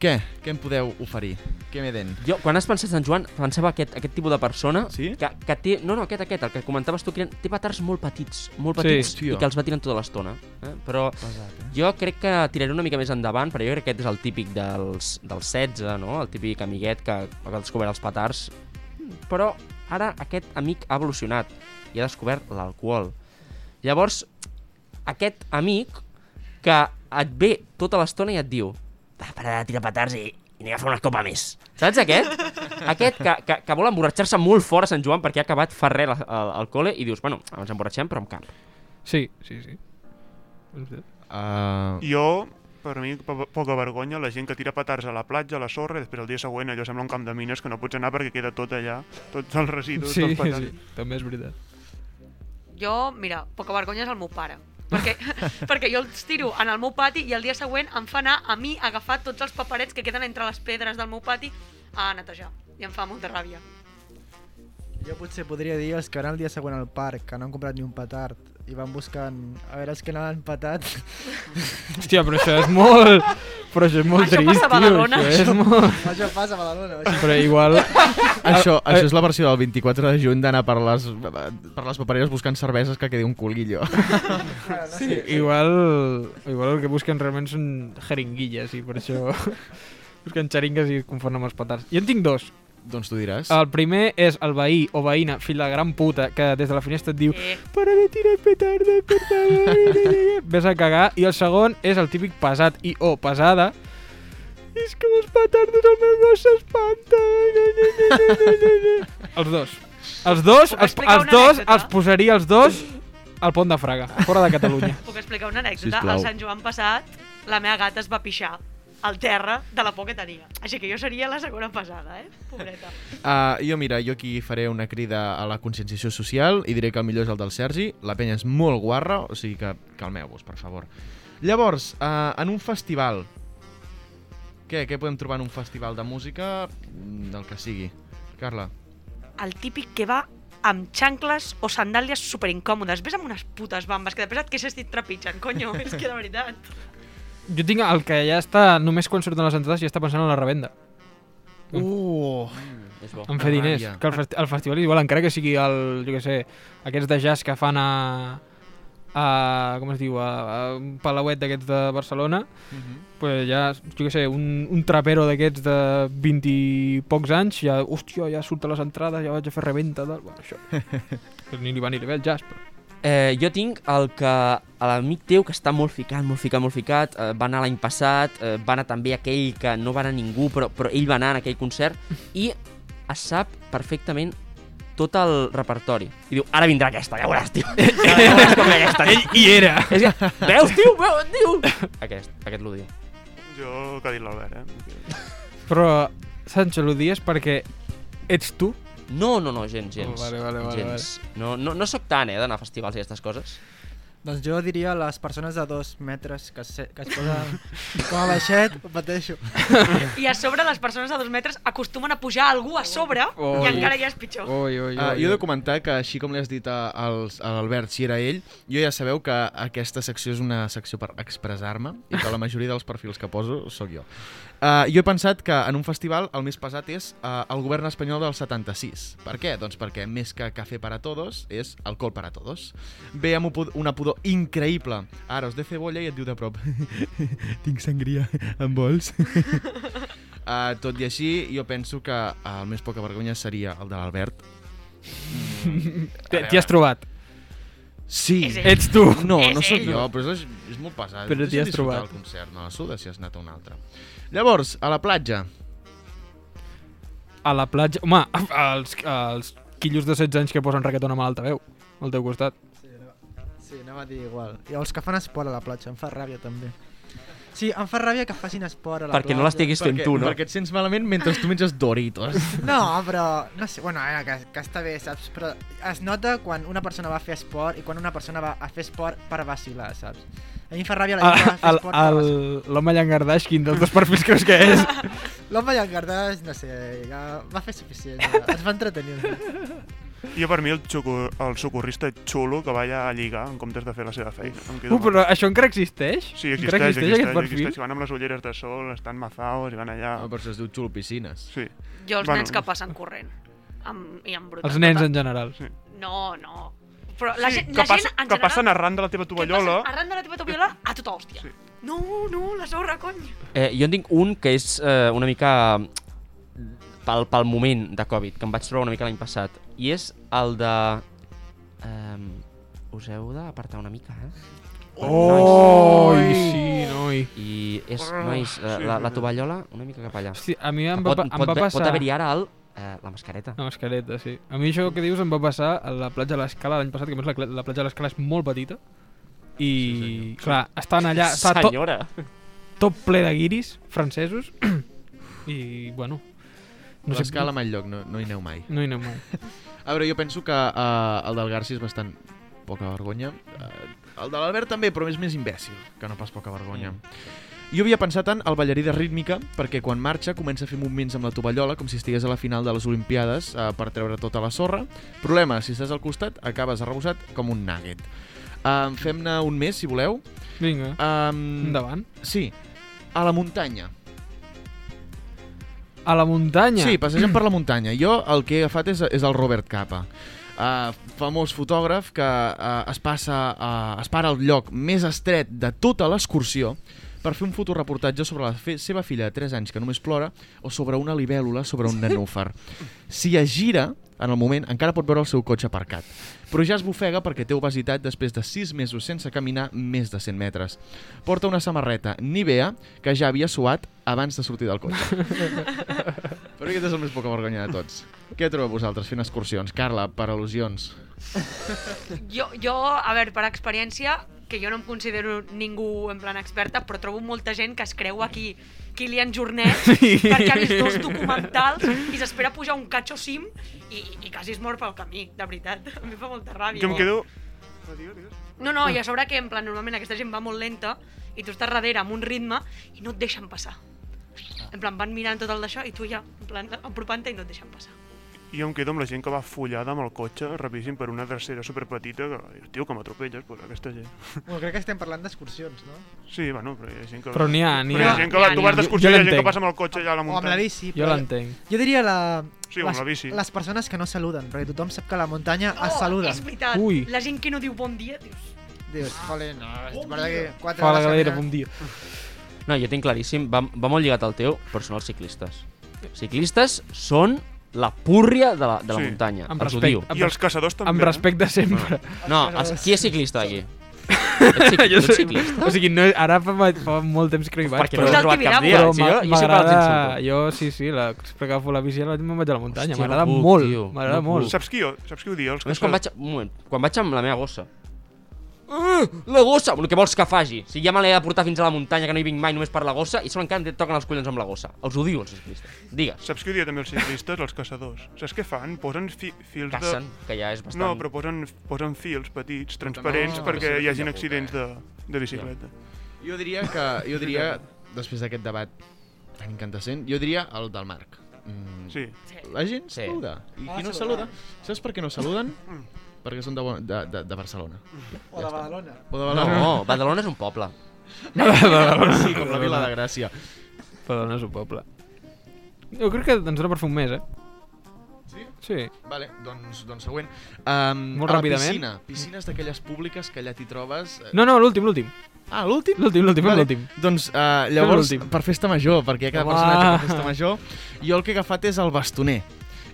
G: Què? Què em podeu oferir? Què me den?
F: Jo, quan has pensat en Joan, pensava aquest, aquest tipus de persona
G: Sí?
F: que, que té... No, no, aquest, aquest, el que comentaves tu, que eren- té petards molt petits, molt petits,
G: Sí.
F: i que els va tirant tota l'estona. Eh? Però jo crec que tiraré una mica més endavant, perquè jo crec que aquest és el típic dels, dels 16, no? El típic amiguet que ha descobert els petards. Però ara aquest amic ha evolucionat i ha descobert l'alcohol. Llavors, aquest amic que et ve tota l'estona i et diu va, para de tirar petards i, i anem a fer una copa més. Saps aquest? aquest que, que, que vol emborratxar-se molt fort a Sant Joan perquè ha acabat fa res al, al, al col·le i dius, bueno, ens emborratxem però amb cap.
A: Sí, sí, sí.
E: eh,
G: Uh,
E: Jo, per mi, po- poca vergonya, la gent que tira petards a la platja, a la sorra, i després el dia següent allò sembla un camp de mines que no pots anar perquè queda tot allà, tots els residus
A: Sí,
E: dels petards.
A: sí, també és veritat.
D: Jo, mira, poca vergonya és el meu pare. Perquè, perquè jo els tiro en el meu pati i el dia següent em fa anar a mi a agafar tots els paperets que queden entre les pedres del meu pati a netejar. I em fa molta ràbia.
H: jo potser podria dir els que van el dia següent al parc, que no han comprat ni un petard, i van buscant a veure els que no l'han petat.
A: Hòstia, però això és molt... Però això és molt
D: Això
A: trist,
D: passa a
A: tio.
D: Badalona,
A: Això és molt...
H: Això passa a Badalona. Això.
A: Però igual...
G: Això,
A: Ah,
G: això és la versió del 24 de juny d'anar per les, per les papereres buscant cerveses que quedi un culguillo.
A: Sí, igual... Igual el que busquen realment són jeringuilles i per això... Busquen xeringues i es confonen amb els petards. Jo en tinc dos.
G: doncs tu diràs.
A: El primer és el veí o veïna, fill de gran puta, que des de la finestra et diu
D: Eh,
A: Para de tirar petarda, per favor. Ves a cagar. I el segon és el típic pesat i o pesada. És que amb els petardos el meu gos s'espanta. els dos. Els dos,
D: Puc
A: els,
D: explicar
A: els
D: una
A: dos,
D: anècdota?
A: els posaria els dos al pont de Fraga, fora de Catalunya.
D: puc explicar una anècdota?
G: Sisplau.
D: Al Sant Joan passat, la meva gata es va pixar al terra de la por que tenia. Així que jo seria la segona pesada, eh? Pobreta.
G: Uh, jo, mira, jo aquí faré una crida a la conscienciació social i diré que el millor és el del Sergi. La penya és molt guarra, o sigui que calmeu-vos, per favor. Llavors, uh, en un festival... Què? Què podem trobar en un festival de música? Mm, Del que sigui. Carla.
D: El típic que va amb xancles o sandàlies superincòmodes. Ves amb unes putes bambes que després et queixes i et trepitgen, conyo. És que de veritat.
A: Jo tinc el que ja està, només quan surten les entrades ja està pensant en la revenda.
G: Uh!
F: És bo.
A: En fer diners.
G: Ràbia.
A: Que el, festi el festival igual, encara que sigui el, jo què sé, aquests de jazz que fan a... a com es diu? A, a un palauet d'aquests de Barcelona,
G: Uh -huh.
A: pues ja, jo què sé, un, un trapero d'aquests de 20 i pocs anys, ja, hòstia, ja surt a les entrades, ja vaig a fer reventa, tal, bueno, això. que ni li va ni li ve el jazz, però...
F: Eh, jo tinc el que a l'amic teu que està molt ficat, molt ficat, molt ficat, eh, va anar l'any passat, eh, va anar també aquell que no va anar ningú, però, però ell va anar en aquell concert, i es sap perfectament tot el repertori. I diu, ara vindrà aquesta, ja veuràs, tio. Ja veuràs com ve aquesta.
A: Ell hi era.
F: És que, veus, tio, veus, tio. Aquest, aquest l'odio.
E: Jo el que ha dit l'Albert, eh?
A: Però, Sancho, l'odies perquè ets tu?
F: No, no, no, gens, gens.
A: Oh, Vale, vale, vale,
F: gens. No, no, no sóc tant, eh, d'anar a festivals i aquestes coses.
H: Doncs jo diria les persones de dos metres que, se, que es posen com a baixet, ho pateixo.
D: I a sobre les persones de dos metres acostumen a pujar algú a sobre
A: Ui.
D: i encara ja és pitjor.
A: Ui, ui, ui.
G: Uh, jo he
A: ui.
G: de comentar que així com li has dit a, als- a l'Albert si era ell, jo ja sabeu que aquesta secció és una secció per expressar-me i que la majoria dels perfils que poso sóc jo. Uh, jo he pensat que en un festival el més pesat és uh, el govern espanyol del 76. Per què? Doncs perquè més que cafè para todos és alcohol para todos. Ve amb un pu- una pudor increïble. Ara us de cebolla i et diu de prop Tinc sangria, em vols? uh, tot i així, jo penso que uh, el més poca vergonya seria el de l'Albert
F: Mm.
A: T'hi t'hi has trobat.
G: Sí.
D: És ell.
A: Ets tu.
G: No,
D: És
G: no sóc
D: ell.
G: jo, però és, és molt pesat.
A: Però t'hi
G: Deixa
A: has trobat.
G: disfrutar El concert, no, la suda si has anat a un altre. Llavors, a la platja.
A: A la platja... Home, els, els quillos de 16 anys que posen reggaeton amb l'altaveu al teu costat.
H: Sí, anava a dir igual. I els que fan esport a la platja, em fa ràbia també. Sí, em fa ràbia que facin esport a la
F: Perquè
H: platja.
F: no l'estiguis fent
G: perquè,
F: tu, no?
G: Perquè et sents malament mentre tu menges Doritos.
H: No, però, no sé, bueno, eh, que, que està bé, saps? Però es nota quan una persona va a fer esport i quan una persona va a fer esport per vacilar, saps? A mi em fa ràbia la gent que va a fer
A: El-
H: esport per vacilar.
A: el- L'home llangardàs, quin dels dos perfils creus que és?
H: L'home llangardàs, no sé, ja va fer suficient. Ja. Ens va entretenir.
E: Jo per mi el, xucu, el socorrista xulo que balla a lligar en comptes de fer la seva feina. Em quedo
A: Uh,
E: amb
A: però això encara existeix?
E: Sí, existeix,
A: encara existeix,
E: existeix,
A: aquest perfil?
E: existeix. Van amb les ulleres de sol, estan mazaos i van allà...
G: No, per Ah, això es diu xulo piscines.
E: Sí.
D: Jo els
E: Bueno.
D: nens que passen corrent. Amb, i amb
A: Els nens en general.
D: No, no. Però la,
E: sí,
D: gent,
E: que,
D: la gent
E: passa-
D: en
E: que
D: general...
E: passen arran de la teva
D: que
E: tovallola...
D: passen Arran de la teva tovallola a tota hòstia.
E: Sí.
D: No, no, la sorra, cony.
F: Eh, jo en tinc un que és eh, una mica mm, pel, pel moment de Covid, que em vaig trobar una mica l'any passat, i és el de... Eh, us heu d'apartar una mica, eh?
A: Oi, sí, noi.
F: I és,
E: Ah,
F: nois, eh,
E: sí,
F: la,
E: sí,
F: la
E: sí.
F: tovallola una mica cap allà.
A: Hosti, a mi em va,
F: Pot,
A: pa- em
F: pot,
A: va
F: ve- pot
A: passar...
F: haver-hi ara el, eh, la mascareta.
A: La mascareta, sí. A mi això que dius em va passar a la platja de l'Escala l'any passat, que a més la, cla- la platja de l'Escala és molt petita. I, sí, clar, estan allà, està tot,
F: Senyora!
A: tot ple de guiris francesos. I, bueno...
G: No L'escala mai lloc, no, no hi aneu mai.
A: No hi anem mai.
G: A veure, jo penso que uh, el del Garci és bastant poca vergonya. Uh, el de l'Albert també, però és més imbècil, que no pas poca
A: Mm.
G: vergonya. Jo havia pensat en el ballarí de rítmica, perquè quan marxa comença a fer moviments amb la tovallola, com si estigués a la final de les Olimpiades, uh, per treure tota la sorra. Problema, si estàs al costat, acabes arrebossat com un nugget. Um, Fem-ne un més, si voleu.
A: Vinga,
G: Um,
A: endavant.
G: Sí, a la muntanya.
A: A la muntanya.
G: Sí, passejant per la muntanya. Jo el que he agafat és, és el Robert Capa. Uh, famós fotògraf que uh, es passa uh, es para al lloc més estret de tota l'excursió per fer un fotoreportatge sobre la fe seva filla de 3 anys que només plora o sobre una libèl·lula sobre un nenúfar. Si es gira, en el moment encara pot veure el seu cotxe aparcat, però ja es bofega perquè té obesitat després de 6 mesos sense caminar més de 100 metres. Porta una samarreta Nivea que ja havia suat abans de sortir del cotxe. Però aquest és el més poca vergonya de tots. Què trobeu vosaltres fent excursions? Carla, per al·lusions.
D: Jo, jo, a veure, per experiència, que jo no em considero ningú en plan experta, però trobo molta gent que es creu aquí Kilian Jornet sí. perquè ha vist dos documentals i s'espera pujar un catxo cim i, i quasi es mor pel camí, de veritat. A mi em fa molta ràbia.
E: Jo em quedo... Ah, digues, digues.
D: No, no, i a sobre que en plan normalment aquesta gent va molt lenta i tu estàs darrere amb un ritme i no et deixen passar. En plan, van mirant tot el d'això i tu ja, en plan, apropant-te i no et deixen passar.
E: Jo em quedo amb la gent que va fullada amb el cotxe, rapidíssim, per una tercera superpetita, que, tio, que m'atropelles, pues, aquesta gent.
H: Bueno, crec que estem parlant d'excursions, no?
E: Sí, bueno, però hi ha gent que...
A: Però n'hi ha, n'hi
E: Però hi
A: ha.
E: ha gent que va,
D: N'hi ha,
E: tu
D: n'hi ha.
E: vas d'excursió
A: Jo
E: i hi ha gent
A: l'entenc.
E: que passa amb el cotxe allà a la
H: O amb
E: muntanya.
H: la bici.
A: Jo
H: però-
A: l'entenc.
H: Jo diria la...
E: Sí, o amb la bici.
H: Les persones que no saluden, perquè tothom sap que a la muntanya es saluda.
D: Oh, És veritat,
A: Ui.
D: Ui. la gent que no diu bon dia, dius...
H: Dius, jole, no, és verdad que quatre
A: Fa la
H: hores
A: galera,
H: caminant.
A: bon dia.
F: No, jo tinc claríssim, va, va molt lligat al teu, però són els ciclistes. Ciclistes són la púrria de la, de la
E: Sí.
F: muntanya.
A: Amb
F: els ho
A: respecte.
F: diu.
A: Amb
E: I els caçadors també.
A: Amb
E: eh?
A: respecte sempre.
F: No, els, qui és ciclista aquí? Ets, cic, tu
A: Jo
F: ets
A: sé-
F: ciclista?
A: O sigui, no, ara fa, fa molt temps que no hi vaig,
F: Perquè no
A: però...
F: he
D: Però
F: trobat cap
D: m'agrada-
F: dia,
A: però
F: si jo,
A: m'a-
F: jo sempre els
A: m'agrada...
F: insulto.
A: Jo, sí, sí, la, sempre que agafo la bici ara me'n vaig a la muntanya.
F: Hòstia,
A: M'agrada
F: no puc,
A: molt,
F: tio,
A: m'agrada
F: no
A: molt.
F: puc.
E: Saps qui ho, saps qui ho diu? Els
F: No és quan vaig, un moment, quan vaig amb la meva gossa. Ah, la gossa! El que vols que faci. Si ja me l'he de portar fins a la muntanya, que no hi vinc mai només per la gossa, i sembla que encara em toquen els collons amb la gossa. Els odio, els ciclistes. Digues.
E: Saps què ho diuen també els ciclistes, els caçadors? Saps què fan? Posen fi, fils de...
F: Cacen, que ja és bastant...
E: No, però posen, posen fils petits, transparents,
G: no,
E: perquè
G: no,
E: hi hagin
G: no,
E: accidents de, de bicicleta.
G: Jo diria que... Jo diria, després d'aquest debat tan incandescent, jo diria el del Marc. Mm,
E: Sí.
G: La gent
F: Sí.
G: saluda. I qui no Ah, saluda... Saps per què no saluden?
E: Mm.
G: Perquè són de, Bo- de, de, de Barcelona.
H: O de Badalona.
G: O de
F: No,
G: Badalona.
F: no, Badalona és un poble.
G: Sí, com la Vila de Gràcia.
A: Badalona és un poble. Jo crec que ens dona per fer un mes, eh?
G: Sí?
A: Sí.
G: Vale, doncs, doncs següent. Um,
A: Molt
G: a la
A: ràpidament.
G: Piscina. Piscines d'aquelles públiques que allà t'hi trobes... eh,
A: No, no, l'últim, l'últim.
G: Ah, l'últim?
A: L'últim, l'últim,
G: Vale,
A: l'últim.
G: Doncs uh, llavors,
A: l'últim.
G: per festa major, perquè hi ha cada
A: Home.
G: personatge per festa major, jo el que he agafat és el bastoner.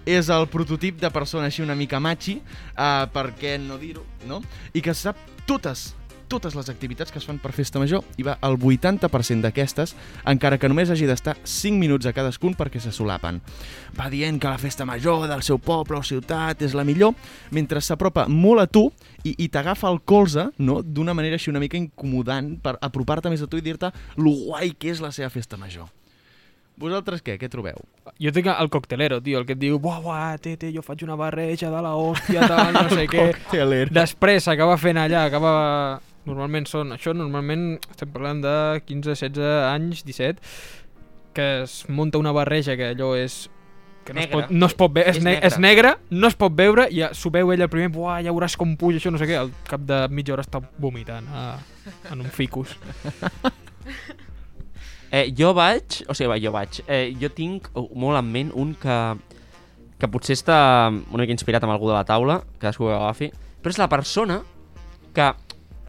G: És el prototip de persona així una mica machi, uh, perquè no dir-ho, no? I que sap totes totes les activitats que es fan per festa major i va el 80% d'aquestes, encara que només hagi d'estar 5 minuts a cadascun perquè se solapen. Va dient que la festa major del seu poble o ciutat és la millor, mentre s'apropa molt a tu i, i t'agafa el colze, no?, d'una manera així una mica incomodant per apropar-te més a tu i dir-te lo guai que és la seva festa major. Vosaltres què? Què trobeu?
A: Jo tinc el coctelero, tio, el que et diu buah, buah, tete, jo faig una barreja de la hòstia, tal, no sé què.
G: Cocteler.
A: Després acaba fent allà, acaba... Normalment són... Això normalment estem parlant de 15, 16 anys, 17, que es munta una barreja que allò és... Que no, es
F: Negra.
A: pot, no es pot veure, és,
F: És
A: ne
F: negra.
A: és negre, no es pot veure, i ja s'ho veu ell el primer, buah, ja veuràs com puja això, no sé què, al cap de mitja hora està vomitant a, en un ficus.
F: Eh, jo vaig, o sigui, va, jo vaig, eh, jo tinc oh, molt en ment un que, que potser està una mica inspirat amb algú de la taula, cadascú que agafi, però és la persona que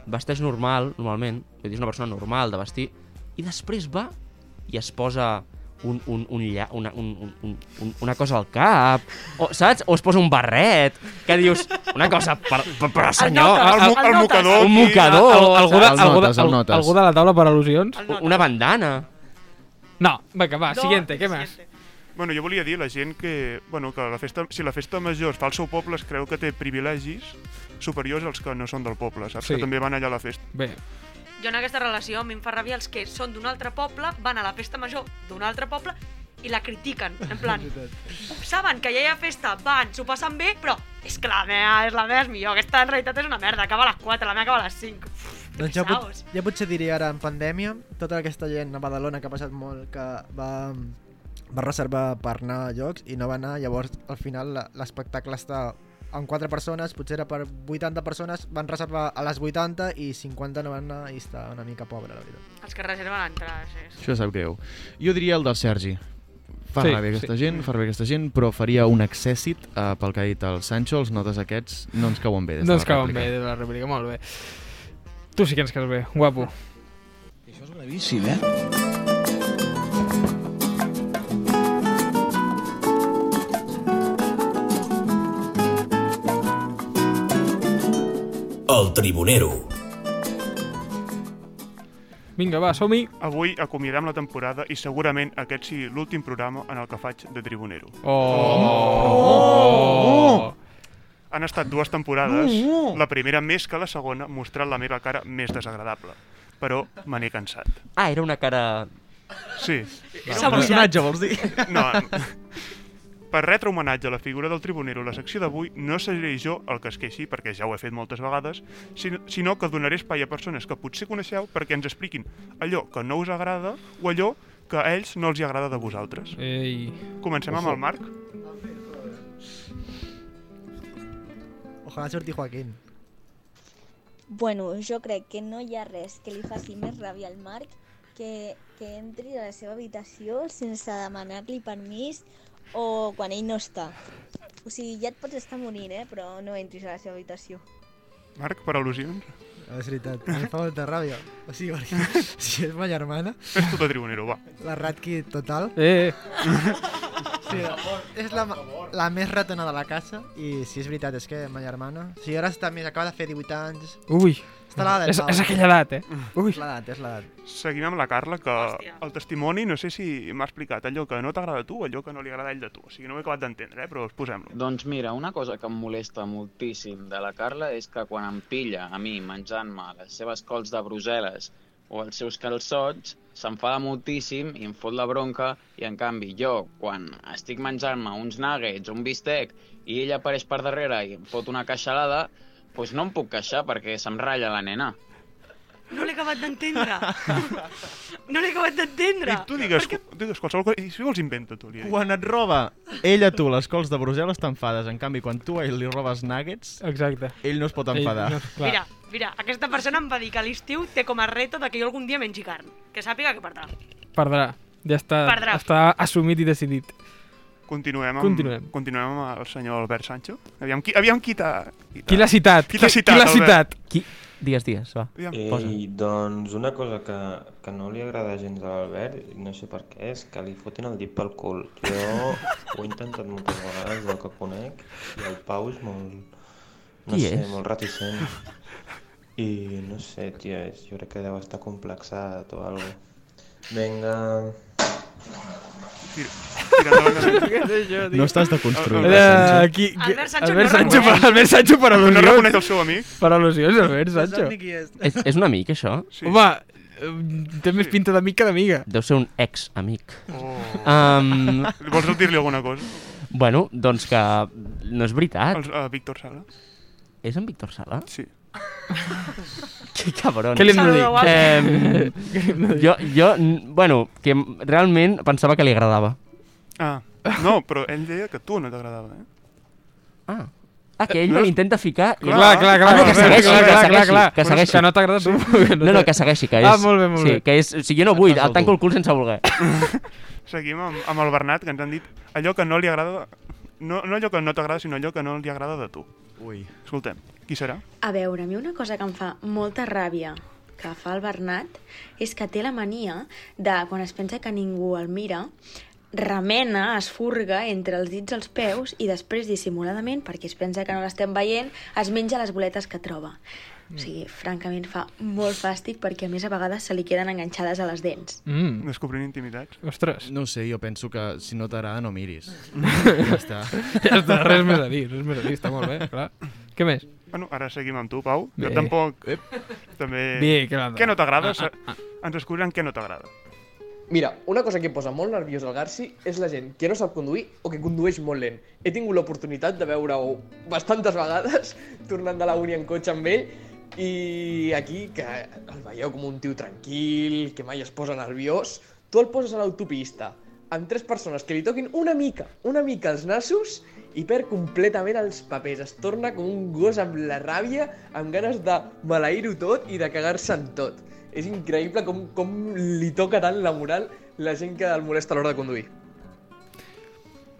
F: vesteix normal, normalment, vull dir, és una persona normal de vestir, i després va i es posa un, un, un, lla, una, un, un, un, un- una cosa al cap, o, saps? O es posa un barret, que dius, una cosa, per, per, per senyor,
D: notes,
E: el, mu-
D: el
E: el
D: notes.
E: mocador.
F: un
E: aquí.
F: mocador,
A: Al- algú, de,
G: El
A: algú,
G: notes,
A: de,
G: el
A: al-
G: notes.
A: algú de la taula per al·lusions?
D: El notes.
F: una bandana.
A: No, vinga, va,
D: No,
A: siguiente, què més?
D: siguiente.
E: Bueno, jo volia dir a la gent que, bueno, que la festa, si la festa major es fa al seu poble es creu que té privilegis superiors als que no són del poble, saps?
A: Sí.
E: Que també van allà a la festa.
A: Bé,
D: Jo en aquesta relació a mi em fa ràbia els que són d'un altre poble, van a la festa major d'un altre poble i la critiquen, en plan, saben que ja hi ha festa, van, s'ho passen bé, però és que la meva, és la meva és millor, aquesta en realitat és una merda, acaba a les 4, la meva acaba a les 5.
H: Doncs ja,
D: ja
H: pot, ja potser diré ara en pandèmia, tota aquesta gent a Badalona que ha passat molt, que va, va reservar per anar a llocs i no va anar, llavors al final la- l'espectacle està amb 4 persones, potser era per 80 persones, van reservar a les 80 i 50 no van anar i està una mica pobre, la veritat.
D: Els que reserven entrades, és...
G: Això sap greu. Jo diria el del Sergi. Fa
A: Sí,
G: sí, ràbia aquesta sí. gent, fa ràbia aquesta gent, però faria un excèssit eh, pel que ha dit el Sancho, els notes aquests no ens cauen bé des
A: no
G: de
A: ens
G: la
A: cauen bé
G: rèplica.
A: de la rèplica, molt bé. Tu sí que ens caus bé, guapo.
B: Això és gravíssim, eh? El Tribunero.
A: Vinga, va, som-hi.
E: Avui acomiadam la temporada i segurament aquest sigui l'últim programa en el que faig de Tribunero.
A: Oh! oh!
E: Han estat dues temporades,
G: Oh.
E: no, no. la primera més que la segona, mostrant la meva cara més desagradable. Però me n'he cansat.
F: Ah, era una cara
E: Sí.
D: S'ha buidat.
G: vols dir?
E: No, per retre homenatge a la figura del tribunero, la secció d'avui no seré jo el que es queixi, perquè ja ho he fet moltes vegades, sinó, sinó que donaré espai a persones que potser coneixeu perquè ens expliquin allò que no us agrada o allò que a ells no els hi agrada de vosaltres.
A: Ei.
E: Comencem amb el Marc.
H: Ojalá surti Joaquín.
J: Bueno, jo crec que no hi ha res que li faci més ràbia al Marc que, que entri a la seva habitació sense demanar-li permís o quan ell no està. O sigui, ja et pots estar morint, eh? però no entris a la seva habitació.
E: Marc, per al·lusions.
H: És veritat, em fa molta ràbia. O sigui, perquè si és ma germana,
E: Fes tu de tribunero, va.
H: la ratqui total,
A: Eh,
H: Sí, és la, la més ratona de la casa i si és veritat, és que ma germana... Si ara està més, acaba de fer 18 anys...
A: Ui,
H: Està a l'edat.
A: és, és aquella edat, eh? Ui.
H: És l'edat, és l'edat.
E: Seguim amb la Carla, que el testimoni, no sé si m'ha explicat allò que no t'agrada a tu, allò que no li agrada a ell de tu. O sigui, no ho he acabat d'entendre, eh? però posem-lo.
K: Doncs mira, una cosa que em molesta moltíssim de la Carla és que quan em pilla a mi menjant-me les seves cols de Brussel·les o els seus calçots, s'enfada moltíssim i em fot la bronca i en canvi jo, quan estic menjant-me uns nuggets o un bistec i ella apareix per darrere i em fot una queixalada, doncs no em puc queixar perquè se'm ratlla la nena.
D: No l'he acabat d'entendre. no l'he acabat d'entendre.
E: Tu digues, digues qualsevol cosa, i si vols inventa tu, li he dit.
G: Quan et roba ell a tu les cols de Brussel·les t'enfades, en canvi quan tu a ell li robes nuggets,
A: Exacte.
G: ell no es pot
A: Ell
G: enfadar.
A: no es- clar.
D: Mira, mira, aquesta persona em va dir que a l'estiu té com a reto de que jo algun dia mengi carn. Que sàpiga que perdrà.
A: Perdrà. Ja està,
D: Perdrà.
A: està assumit i decidit.
E: Continuem amb,
A: Continuem.
E: continuem amb el senyor Albert Sancho. Aviam qui, aviam qui t'ha...
A: Qui l'ha citat?
E: Qui l'ha
A: Qui-
E: citat,
A: qui l'ha
E: Albert?
A: citat?
F: Qui? Digues, digues, va.
E: Aviam.
L: Ei, doncs una cosa que, que no li agrada gens a l'Albert, i no sé per què, és que li fotin el dit pel cul. Jo ho he intentat moltes vegades, del que conec, i el Pau és molt... No
F: Qui
L: sé,
F: és?
L: molt reticent. I no sé, tio, és, jo crec que deu estar complexat o alguna Vinga...
G: No estàs deconstruït.
A: Era qui, qui,
D: Albert Sancho
A: Albert
D: no
A: Sancho,
D: reconeix.
A: per, Albert Sancho per
E: No
A: al·lusions.
E: reconeix el seu amic.
A: Per al·lusions, Albert Sancho.
F: És, és un amic, això?
E: Sí.
A: Home, eh, té més pinta d'amic que d'amiga.
F: Deu ser un ex-amic.
E: Oh.
F: Um,
E: Vols dir-li alguna cosa?
F: bueno, doncs que no és veritat.
E: El, uh, Víctor Sala?
F: És en Víctor Sala?
E: Sí.
F: Que cabron.
A: Què li hem de
D: Saluda,
A: dir?
D: guapo.
F: Eh, jo, jo, n- bueno, que m- realment pensava que li agradava.
E: Ah, no, però ell deia que tu no t'agradava, eh?
F: Ah, ah que ell me l'intenta ficar i...
A: Clar, clar, clar.
F: Ah, no, que
A: Albert,
F: segueixi,
A: clar,
F: que
A: clar,
F: segueixi,
A: clar,
F: que
A: clar.
F: segueixi.
A: Que no t'agrada, suposo. que
F: No, no, que segueixi, que és...
A: Ah, molt bé, molt
F: sí,
A: bé.
F: Que és, o sigui, jo no vull, et tanco el cul sense voler.
E: Seguim amb, amb el Bernat, que ens han dit allò que no li agrada... No, no allò que no t'agrada, sinó allò que no li agrada de tu.
G: Ui.
E: Escoltem, qui serà?
M: A veure, a mi una cosa que em fa molta ràbia que fa el Bernat és que té la mania de, quan es pensa que ningú el mira, remena, es furga entre els dits els peus i després, dissimuladament, perquè es pensa que no l'estem veient, es menja les boletes que troba. O sigui, francament fa molt fàstic perquè a més a vegades se li queden enganxades a les dents.
A: Mm,
E: Descobrint intimitats.
A: ostres.
G: No ho sé, jo penso que si no t'agrada no miris. ja està.
A: Ja està, res més a dir, res més a dir, està molt bé, clar. Què més?
E: Bueno, ara seguim amb tu, Pau. Bé.
A: Bé.
E: Jo tampoc... També...
A: Bé, que l'altre.
E: Què no t'agrada? Ah, ah, ah. Ens descobriran què no t'agrada.
N: Mira, una cosa que em posa molt nerviós al Garci és la gent que no sap conduir o que condueix molt lent. He tingut l'oportunitat de veure-ho bastantes vegades, tornant de la uni en cotxe amb ell, i aquí, que el veieu com un tio tranquil, que mai es posa nerviós, tu el poses a l'autopista amb tres persones que li toquin una mica, una mica els nassos i perd completament els papers. Es torna com un gos amb la ràbia, amb ganes de maleir-ho tot i de cagar-se en tot. És increïble com, com li toca tant la moral la gent que el molesta a l'hora de conduir.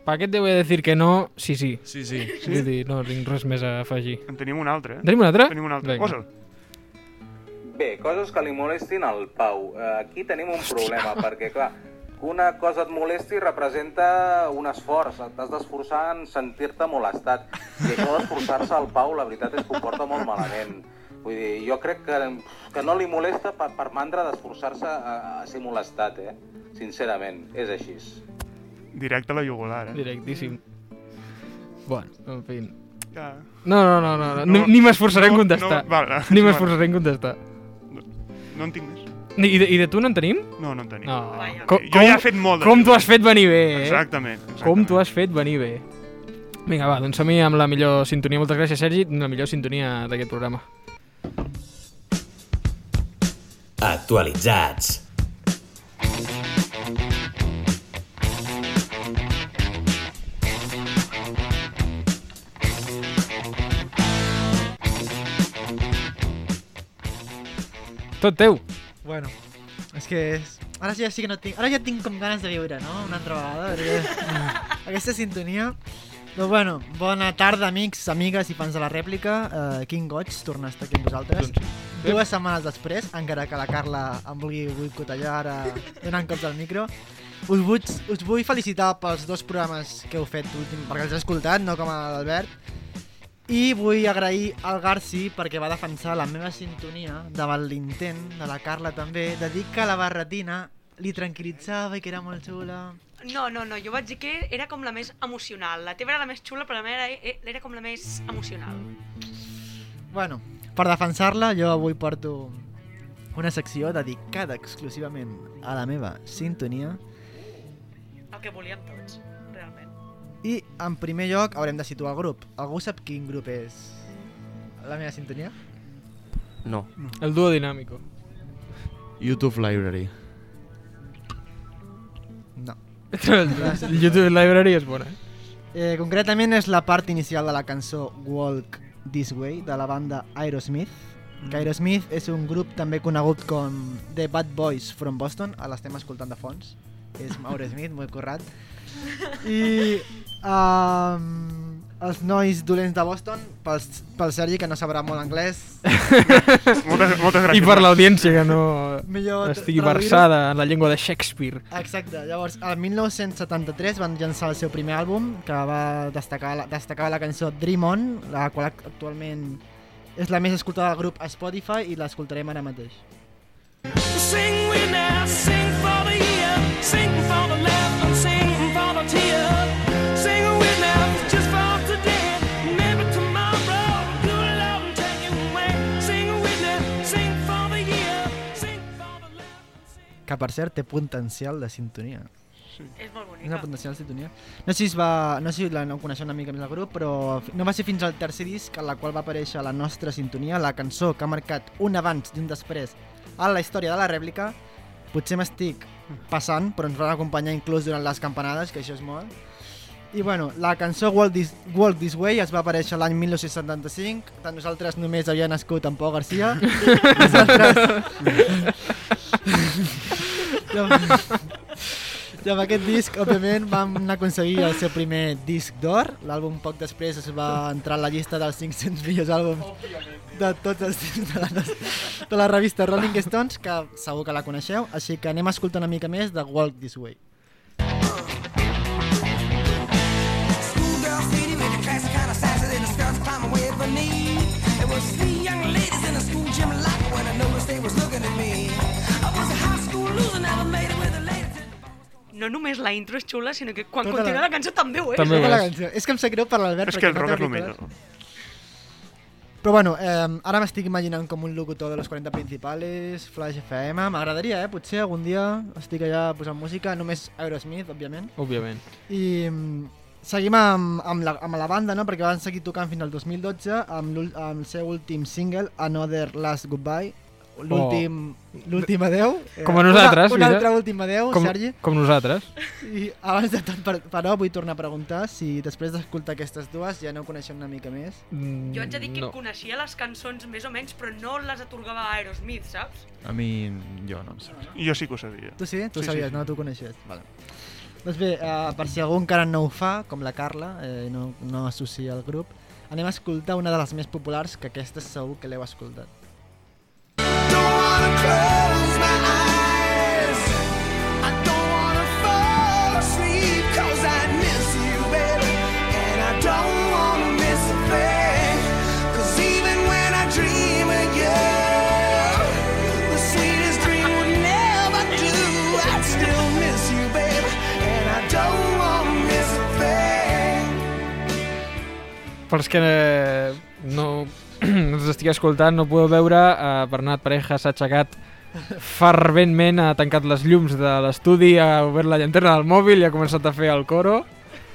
A: Pa què et deu decir que no? Sí, sí.
G: Sí, sí.
A: Vull dir, no tinc res més a afegir.
E: En tenim un altre, eh?
A: En tenim un altre?
E: Tenim un altre.
A: Vinga.
E: Posa'l.
O: Bé, coses que li molestin al Pau. Eh, Aquí tenim un problema, perquè clar, que una cosa et molesti representa un esforç. T'has d'esforçar en sentir-te molestat. I això d'esforçar-se al Pau, la veritat és que ho porta molt malament. Vull dir, jo crec que, que no li molesta per, per mandra d'esforçar-se a, a ser molestat, eh? Sincerament, és així.
E: Directe a la jugular, eh?
A: Directíssim. Bueno, en fi.
E: Ja.
A: No, no, no, no, no.
E: No,
A: ni m'esforçaré en
E: no,
A: contestar.
E: no, vale.
A: Ni m'esforçaré en contestar.
E: No en tinc més.
A: Ni- I de, I de tu no en tenim?
E: No, no en tenim.
A: No.
E: Vaja.
A: Com-
E: Jo ja he fet molt de
A: Com t'ho
E: tu.
A: has fet venir bé, eh?
E: Exactament, exactament.
A: Com t'ho has fet venir bé. Vinga, va, doncs som-hi amb la millor sintonia. Moltes gràcies, Sergi, la millor sintonia d'aquest programa.
B: Actualitzats.
A: Tot teu.
H: Bueno, és que és... Ara ja sí que no tinc... Ara ja tinc com ganes de viure, no? Una altra vegada, perquè... Aquesta sintonia... Però bueno, bona tarda, amics, amigues i fans de la rèplica. Uh, quin goig tornar a estar aquí amb vosaltres. Dues setmanes després, encara que la Carla em vulgui boicotellar ara donant cops al micro. us vull, us vull felicitar pels dos programes que heu fet últim, perquè els he escoltat, no com a l'Albert. I vull agrair al Garci perquè va defensar la meva sintonia davant l'intent de la Carla també de dir que la barretina li tranquil·litzava i que era molt xula.
D: No, no, no, jo vaig dir que era com la més emocional. La teva era la més xula, però la meva era, era com la més emocional.
H: Bueno, per defensar-la jo avui porto una secció dedicada exclusivament a la meva sintonia
D: El que volíem tots, realment.
H: i en primer lloc haurem de situar el grup. Algú sap quin grup és la meva sintonia?
F: No.
A: El dúo dinàmico.
G: YouTube Library.
H: No.
A: El YouTube Library és bona, eh?
H: Eh, concretament és la part inicial de la cançó Walk This Way de la banda Aerosmith. Que
A: Mm.
H: Aerosmith és un grup també conegut com The Bad Boys from Boston, a l'estem escoltant de fons. És Aerosmith, molt currat. I um, els nois dolents de Boston, pel, pel Sergi, que no sabrà molt anglès.
A: Moltes- moltes gràcies. I per l'audiència, que no
H: Millor tra-
A: estigui
H: traduir-ho.
A: versada en la llengua de Shakespeare.
H: Exacte, llavors, el 1973 van llançar el seu primer àlbum, que va destacar la, destacar la cançó Dream On, la qual ac- actualment és la més escoltada del grup a Spotify i l'escoltarem ara mateix.
C: Sing we now, sing for the year, sing for the laugh, and sing for the tear. Sing we now, just for today, maybe tomorrow. Do it love and take it away. Sing we now, sing for the year, sing
H: Que, per cert, té potencial de sintonia.
D: Sí. És molt
H: És una potencial de sintonia. No sé si, es va, no sé si la no coneixeu una mica més el grup, però fi- no va ser fins al tercer disc en la qual va aparèixer la nostra sintonia, la cançó que ha marcat un abans i un després a la història de la rèplica. Potser m'estic passant, però ens van acompanyar inclús durant les campanades, que això és molt. I bueno, la cançó Walk This, Walk This Way es va aparèixer l'any 1975, tant nosaltres només havia nascut en Pau Garcia. nosaltres... I amb- I amb aquest disc, òbviament, vam aconseguir el seu primer disc d'or. L'àlbum poc després es va entrar en la llista dels 500 millors àlbums de tots els temps de la, nos- de la revista Rolling Stones, que segur que la coneixeu, així que anem a escoltar una mica més de Walk This Way.
C: Schoolgirl city with the classic kind of sizes and the skirts climb away from me. There was three young ladies in the school gym locker when I noticed they was looking at me. I was a high school loser, never made it with a lady.
D: No només la intro és xula, sinó que quan
H: Tota
D: tota continua
H: la-
D: la... cançó també ho és.
H: També la cançó. És que em sap greu per l'Albert.
E: És
H: perquè
E: que
H: no
E: el
H: té
E: Robert
H: auriculars.
E: Lomelo.
H: Però bueno, eh, ara m'estic imaginant com un locutor de los 40 principales, Flash FM, m'agradaria, eh? Potser algun dia estic allà posant música, només Aerosmith, òbviament.
A: Òbviament.
H: I mm, seguim amb, amb, la, amb la banda, no? perquè van seguir tocant fins al 2012 amb, l'ul- amb el seu últim single, Another Last Goodbye, l'últim
A: Oh.
H: l'últim adeu. Eh,
A: Com a nosaltres,
H: Una, una
A: mira.
H: altra última adeu,
A: Com-
H: Sergi.
A: com nosaltres.
H: I abans de tot, per- però, vull tornar a preguntar si després d'escoltar aquestes dues ja no ho coneixem una mica més.
A: Mm,
D: Jo haig de dir que no. coneixia les cançons més o menys, però no les atorgava a Aerosmith, saps?
G: A mi, jo no em sap.
E: Jo sí que ho sabia.
H: Tu sí? Tu sabies, no? Tu ho coneixies. Vale. Doncs bé, eh, per si algú encara no ho fa, com la Carla, eh, i no, no associa al grup, anem a escoltar una de les més populars, que aquesta segur que l'heu escoltat.
C: Close my eyes. I don't wanna fall asleep 'cause I miss you, baby. And I don't wanna miss a thing. 'Cause even when I dream of you, the sweetest dream would never do. I'd still miss you, baby. And I don't wanna miss a thing.
A: Pels que eh, no ens estigui escoltant, no podeu veure, eh, Bernat Pareja s'ha aixecat ferventment, ha tancat les llums de l'estudi, ha obert la llanterna del mòbil i ha començat a fer el coro.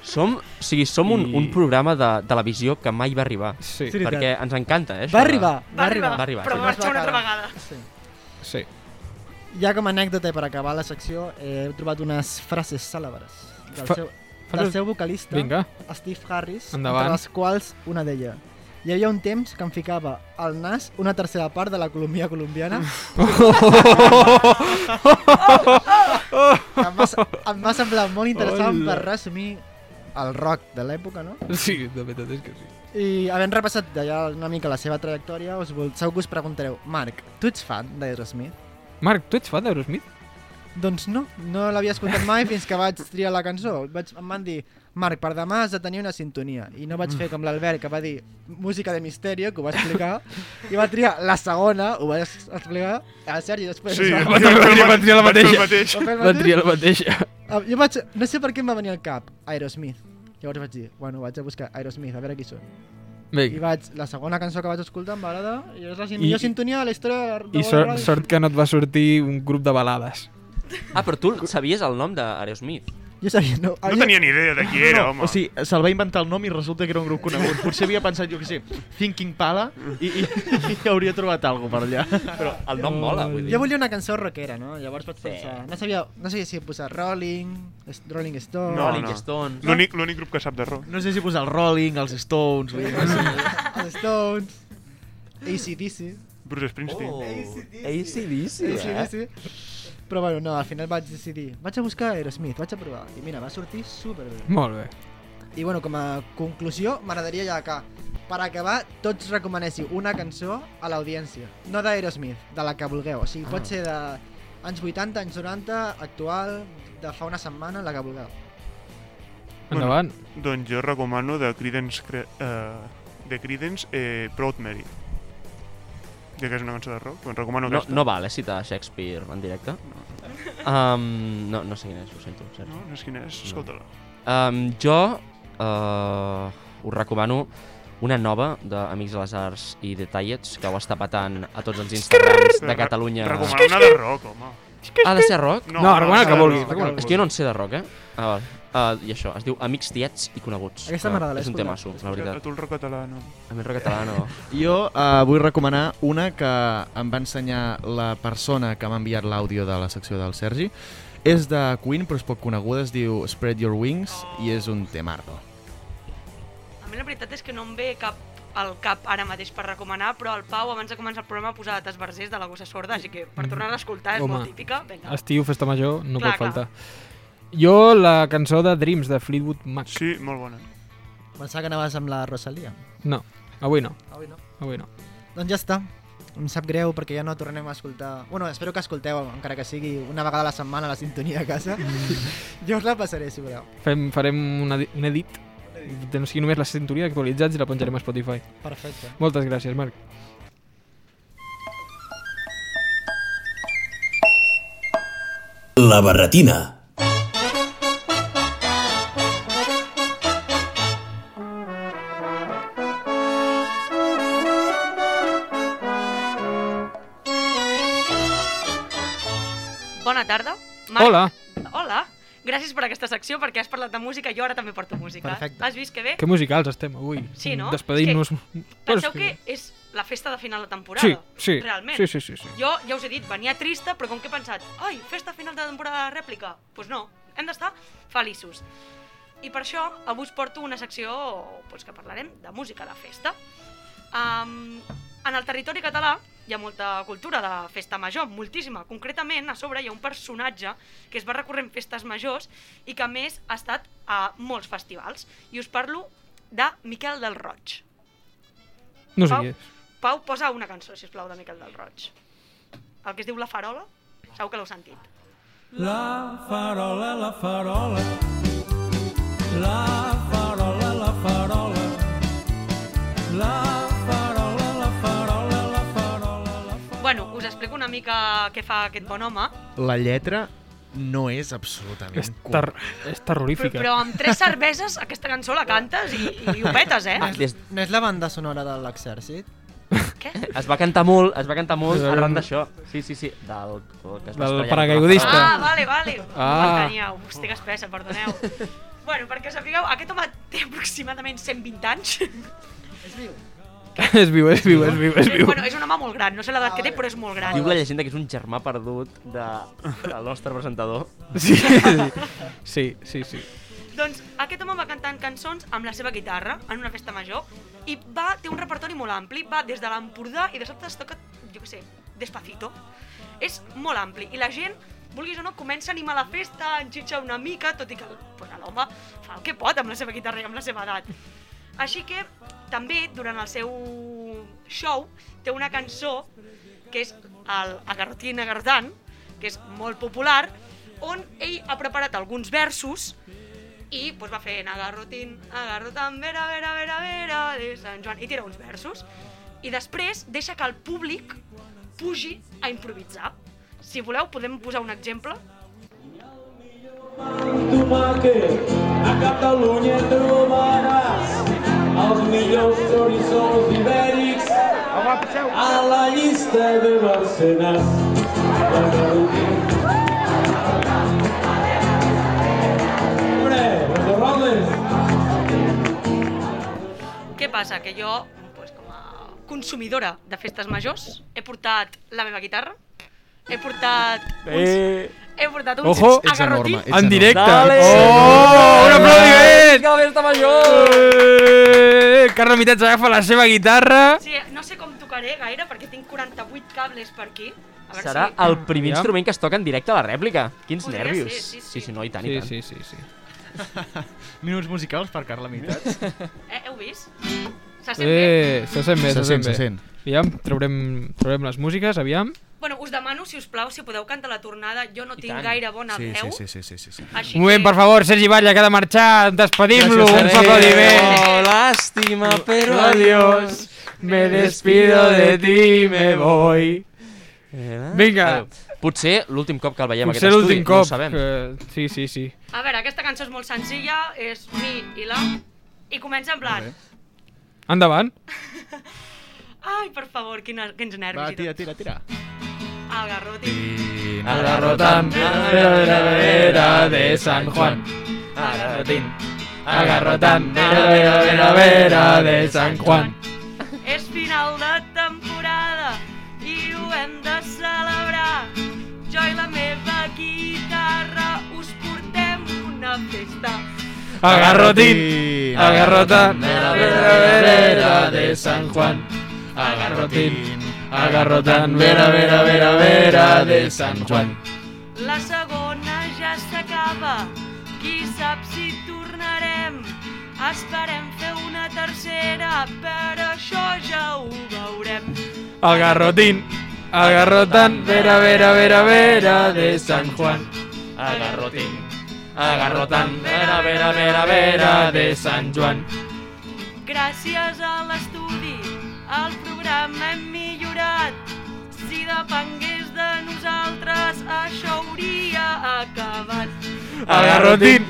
F: Som, o sigui, som un,
A: I-
F: un programa de televisió que mai va arribar.
A: Sí.
H: Sí, veritat.
F: Perquè ens encanta, eh? això
H: Va
F: de-
H: arribar, va arribar.
F: Va arribar,
D: però
F: sí.
D: va marxar una altra vegada.
H: Sí.
A: Sí.
H: Ja com a anècdota i per acabar la secció, eh, he trobat unes frases cèlebres del
A: Fa-
H: seu, del
A: frases-
H: seu vocalista,
A: Vinga.
H: Steve Harris,
A: Endavant.
H: entre les quals una d'ella. Hi havia un temps que em ficava al nas una tercera part de la Colombia colombiana. em, va, se- em va semblar molt interessant
A: Hola.
H: per resumir el rock de l'època, no?
A: Sí, de veritat és que sí.
H: I havent repassat ja una mica la seva trajectòria, us vol, segur que us preguntareu, Marc, tu ets fan d'Aerosmith?
A: Marc, tu ets fan d'Aerosmith?
H: Doncs no, no l'havia escoltat mai fins que vaig triar la cançó. Vaig, em van dir, Marc, per demà has de tenir una sintonia. I no vaig
P: Mm.
H: fer com l'Albert, que va dir música de misteri, que ho va explicar, i va triar la segona, ho va es- explicar, a Sergi després...
A: Sí, va triar- va triar- va triar la
H: Va fer el
A: mateixa.
H: mateix.
A: Va triar la mateixa.
H: Ah, Jo vaig, no sé per què em va venir al cap, Aerosmith. Llavors vaig dir, bueno, vaig a buscar Aerosmith, a veure qui són.
A: Vinga.
H: I vaig, la segona cançó que vaig escoltar em va agradar, i és la
A: I-
H: sin- millor sintonia de la història de la de
A: I
H: la
A: sort,
H: ràdio.
A: sort que no et va sortir un grup de balades.
F: Ah, però tu sabies el nom d'Aerosmith?
H: Jo sabia, no.
F: No tenia ni idea de qui era, home.
G: O sigui, se'l va inventar el nom i resulta que era un grup conegut. Potser havia pensat, jo què sé, Thinking Pala i, i, i hauria trobat alguna per allà. Però
F: el nom mola, vull
H: Jo volia una cançó rockera, no? Llavors vaig pensar... No sabia, no sabia si posar Rolling, es- Rolling Stone...
E: L'únic l'únic grup que sap de rock.
G: No sé si posar el Rolling, els Stones... Vull dir, no sé.
H: Els Stones... ACDC...
E: Bruce Springsteen.
G: Oh,
H: ACDC, Però bueno, no, al final vaig decidir... Vaig a buscar Aerosmith, vaig a provar. I mira, va sortir superbé.
A: Molt bé.
H: I bueno, com a conclusió, m'agradaria ja que, per acabar, tots recomanéssiu una cançó a l'audiència. No d'Aerosmith, de la que vulgueu. O sigui,
F: Ah.
H: pot ser de anys 80, anys 90, actual, de fa una setmana, la que vulgueu.
A: Endavant.
E: Bueno, doncs jo recomano de Creedence, Cre uh, de Creedence eh, Proud Mary. Ja que és una cançó de rock, doncs recomano
F: No,
E: aquesta.
F: no val, eh, citar Shakespeare en directe. Um, no, no sé quin és, ho sento. Sergi.
E: No, no és quina és, escolta-la.
F: Um, jo uh, us recomano una nova d'Amics de les Arts i de Tallets, que ho està patant a tots els Instagrams de
E: Re-
F: Catalunya.
E: Recomano una de rock, home.
F: Ha de ser rock?
E: No, No, recomana el que vulguis, recomana el que
F: És que jo no en sé de rock, eh? Ah, val. Uh, I això, es diu Amics, tiets i coneguts.
E: Aquesta
F: Ah,
E: m'agrada, l'he
F: És un
E: escoltat.
F: temasso, la
E: A
F: veritat.
E: tu el rock català, no.
F: A mi el rock català no.
G: Jo uh, vull recomanar una que em va ensenyar la persona que m'ha enviat l'àudio de la secció del Sergi. És de Queen, però és poc coneguda, es diu Spread Your Wings i és un temardo.
D: A mi la veritat és que no em ve cap al cap ara mateix per recomanar, però el Pau abans de començar el programa ha posat esbarzers de la gossa sorda, així que per tornar a escoltar és
A: Mm. Home,
D: molt típica. Vinga.
A: Estiu, festa major, no
D: Clar,
A: pot
D: clar.
A: faltar. Jo, la cançó de Dreams, de Fleetwood Mac.
E: Sí, molt bona.
H: Pensava que anaves amb la Rosalia.
A: No, avui no.
H: Avui no.
A: Avui no.
H: Doncs ja està. Em sap greu perquè ja no tornem a escoltar... Bueno, espero que escolteu, encara que sigui una vegada a la setmana, la sintonia a casa.
A: Mm.
H: jo us la passaré, si voleu.
A: Fem, farem un, edi un edit. No sigui només la sintonia actualitzats i la penjarem a Spotify.
H: Perfecte.
A: Moltes gràcies, Marc.
B: La barretina.
D: Bona tarda.
A: Hola.
D: Hola. Gràcies per aquesta secció, perquè has parlat de música i jo ara també porto música.
A: Perfecte.
D: Has vist que bé?
A: Que musicals estem avui.
D: Sí, no?
A: Despedint-nos.
D: És Penseu que és la festa de final de temporada.
A: Sí, sí.
D: Realment.
A: Sí, sí, sí, sí.
D: Jo ja us he dit, venia trista, però com que he pensat, ai, festa final de temporada de rèplica, doncs pues no, hem d'estar feliços. I per això avui us porto una secció pues, que parlarem de música de festa. Um, en el territori català hi ha molta cultura de festa major, moltíssima. Concretament, a sobre hi ha un personatge que es va recorrent festes majors i que a més ha estat a molts festivals. I us parlo de Miquel del Roig.
A: No sé
D: Pau,
A: qui és.
D: Pau, posa una cançó, si plau de Miquel del Roig. El que es diu La Farola, segur que l'heu sentit.
C: La farola, la farola. La farola, la farola. La farola, la farola, la farola.
D: Bueno, us explico una mica què fa aquest bon home,
G: La lletra no és absolutament...
A: És, ter és
D: però,
A: terrorífica.
D: però amb tres cerveses aquesta cançó la cantes i, i ho petes, eh?
A: Ah,
H: No és, no és la banda sonora de l'exèrcit?
F: Es va cantar molt, es va cantar molt
H: Sí,
F: arran
H: no.
F: d'això. Sí, sí, sí, del... Que
A: Del
F: es va estrellar
A: paracaigudista.
F: contra la
D: Ah,
F: paret.
D: vale, vale.
F: Ah.
D: Ah. Teníeu. Estic espessa, perdoneu. bueno, perquè sapigueu, aquest home té aproximadament 120 anys. És viu.
A: és viu, és viu, és viu, és viu.
D: Eh, Bueno, és un home molt gran, no sé l'edat que té, però és molt gran.
F: Diu la llegenda que és un germà perdut de, del nostre presentador.
A: Sí, sí, sí, sí.
D: Doncs aquest home va cantant cançons amb la seva guitarra en una festa major i va, té un repertori molt ampli, va des de l'Empordà i de sobte es toca, jo què sé, Despacito. És molt ampli i la gent, vulguis o no, comença a animar la festa, enxitxa una mica, tot i que pues, l'home fa el que pot amb la seva guitarra i amb la seva edat. Així que també durant el seu show té una cançó que és el Agarrotín Agardant,
Q: que és molt popular, on ell ha preparat alguns versos i pues, va fent agarrotin, agarrotan, vera, vera, vera, vera, de Sant Joan, i tira uns versos. I després deixa que el públic pugi a improvisar. Si voleu, podem posar un exemple.
K: tomàquet a Catalunya trobaràs els millors xoriços ibèrics a la llista de Barcenas. Hombre, los rodes.
Q: Què passa? Que jo, pues, com a consumidora de festes majors, he portat la meva guitarra, he portat uns...
C: Eh.
Q: He portat
D: Doncs
Q: uns
C: Ojo,
Q: ets agarrotins.
C: en directe.
K: Dale.
C: Oh, un aplaudiment!
F: Vinga, festa major!
C: Eh, Carles Mitets agafa la seva guitarra.
Q: Sí, no sé com tocaré gaire, perquè tinc 48 cables per aquí. A veure
F: Serà
Q: si...
F: el primer
C: Aviam.
F: instrument que es toca en directe a la rèplica. Quins
Q: Podria
F: nervis.
Q: ser, sí,
F: sí, no, i tant,
C: Sí,
F: i tant.
C: sí, sí, sí.
R: Minuts musicals per Carla Mitats.
Q: Eh, heu vist? Se sent bé?
C: Eh, se sent bé, se,
G: Se
C: sent,
G: sent,
C: bé.
G: se sent.
C: Aviam, traurem, traurem les músiques, aviam.
Q: Bueno, us demano, si us plau, si podeu cantar la tornada. Jo no tinc
C: tant.
Q: gaire bona
C: Sí, sí,
Q: veu.
C: sí,
G: sí, sí, sí, sí.
Q: Així
C: Un moment, per favor, Sergi Batlle, que ha de marxar. Despedim-lo,
F: Gràcies,
C: un
F: Sergi.
C: aplaudiment.
F: Oh, lástima, pero
C: adiós. Me despido de ti, me Eh, voy. Vinga.
F: Adéu. Eh, Potser l'últim cop que el veiem a
C: Potser
F: aquest
C: l'últim
F: estudi,
C: cop.
F: no ho sabem.
C: eh, sí, sí, sí.
Q: A veure, aquesta cançó és molt senzilla, és mi i la... I comença en plan...
C: Endavant.
Q: Ai, per favor, quina, quins nervis.
G: Va,
Q: i tot.
D: eh?"
G: tira, tira, tira.
Q: El garroti.
C: Agarrotan,
K: vera, vera, vera de
C: San Juan.
F: Agarrotín.
C: Agarrotan,
K: vera, vera, vera, vera de
C: San Juan.
Q: És final de temporada i ho hem de celebrar. Jo i la meva guitarra us portem una festa.
C: Agarrotín, agarrotan, vera, vera, vera de San Juan. Agarrotín, agarrotan, vera, vera, vera, vera de San Juan.
Q: La segona ja s'acaba, qui sap si tornarem. Esperem fer una tercera, però això ja ho veurem.
C: Agarrotín, agarrotan, vera, vera, vera, vera de San Juan.
F: Agarrotín.
C: Agarrotan, vera, vera, vera, vera de San Juan.
Q: Gràcies a l'estudi, el programa hem millorat. Si depengués de nosaltres, això hauria acabat.
C: Agarrotín,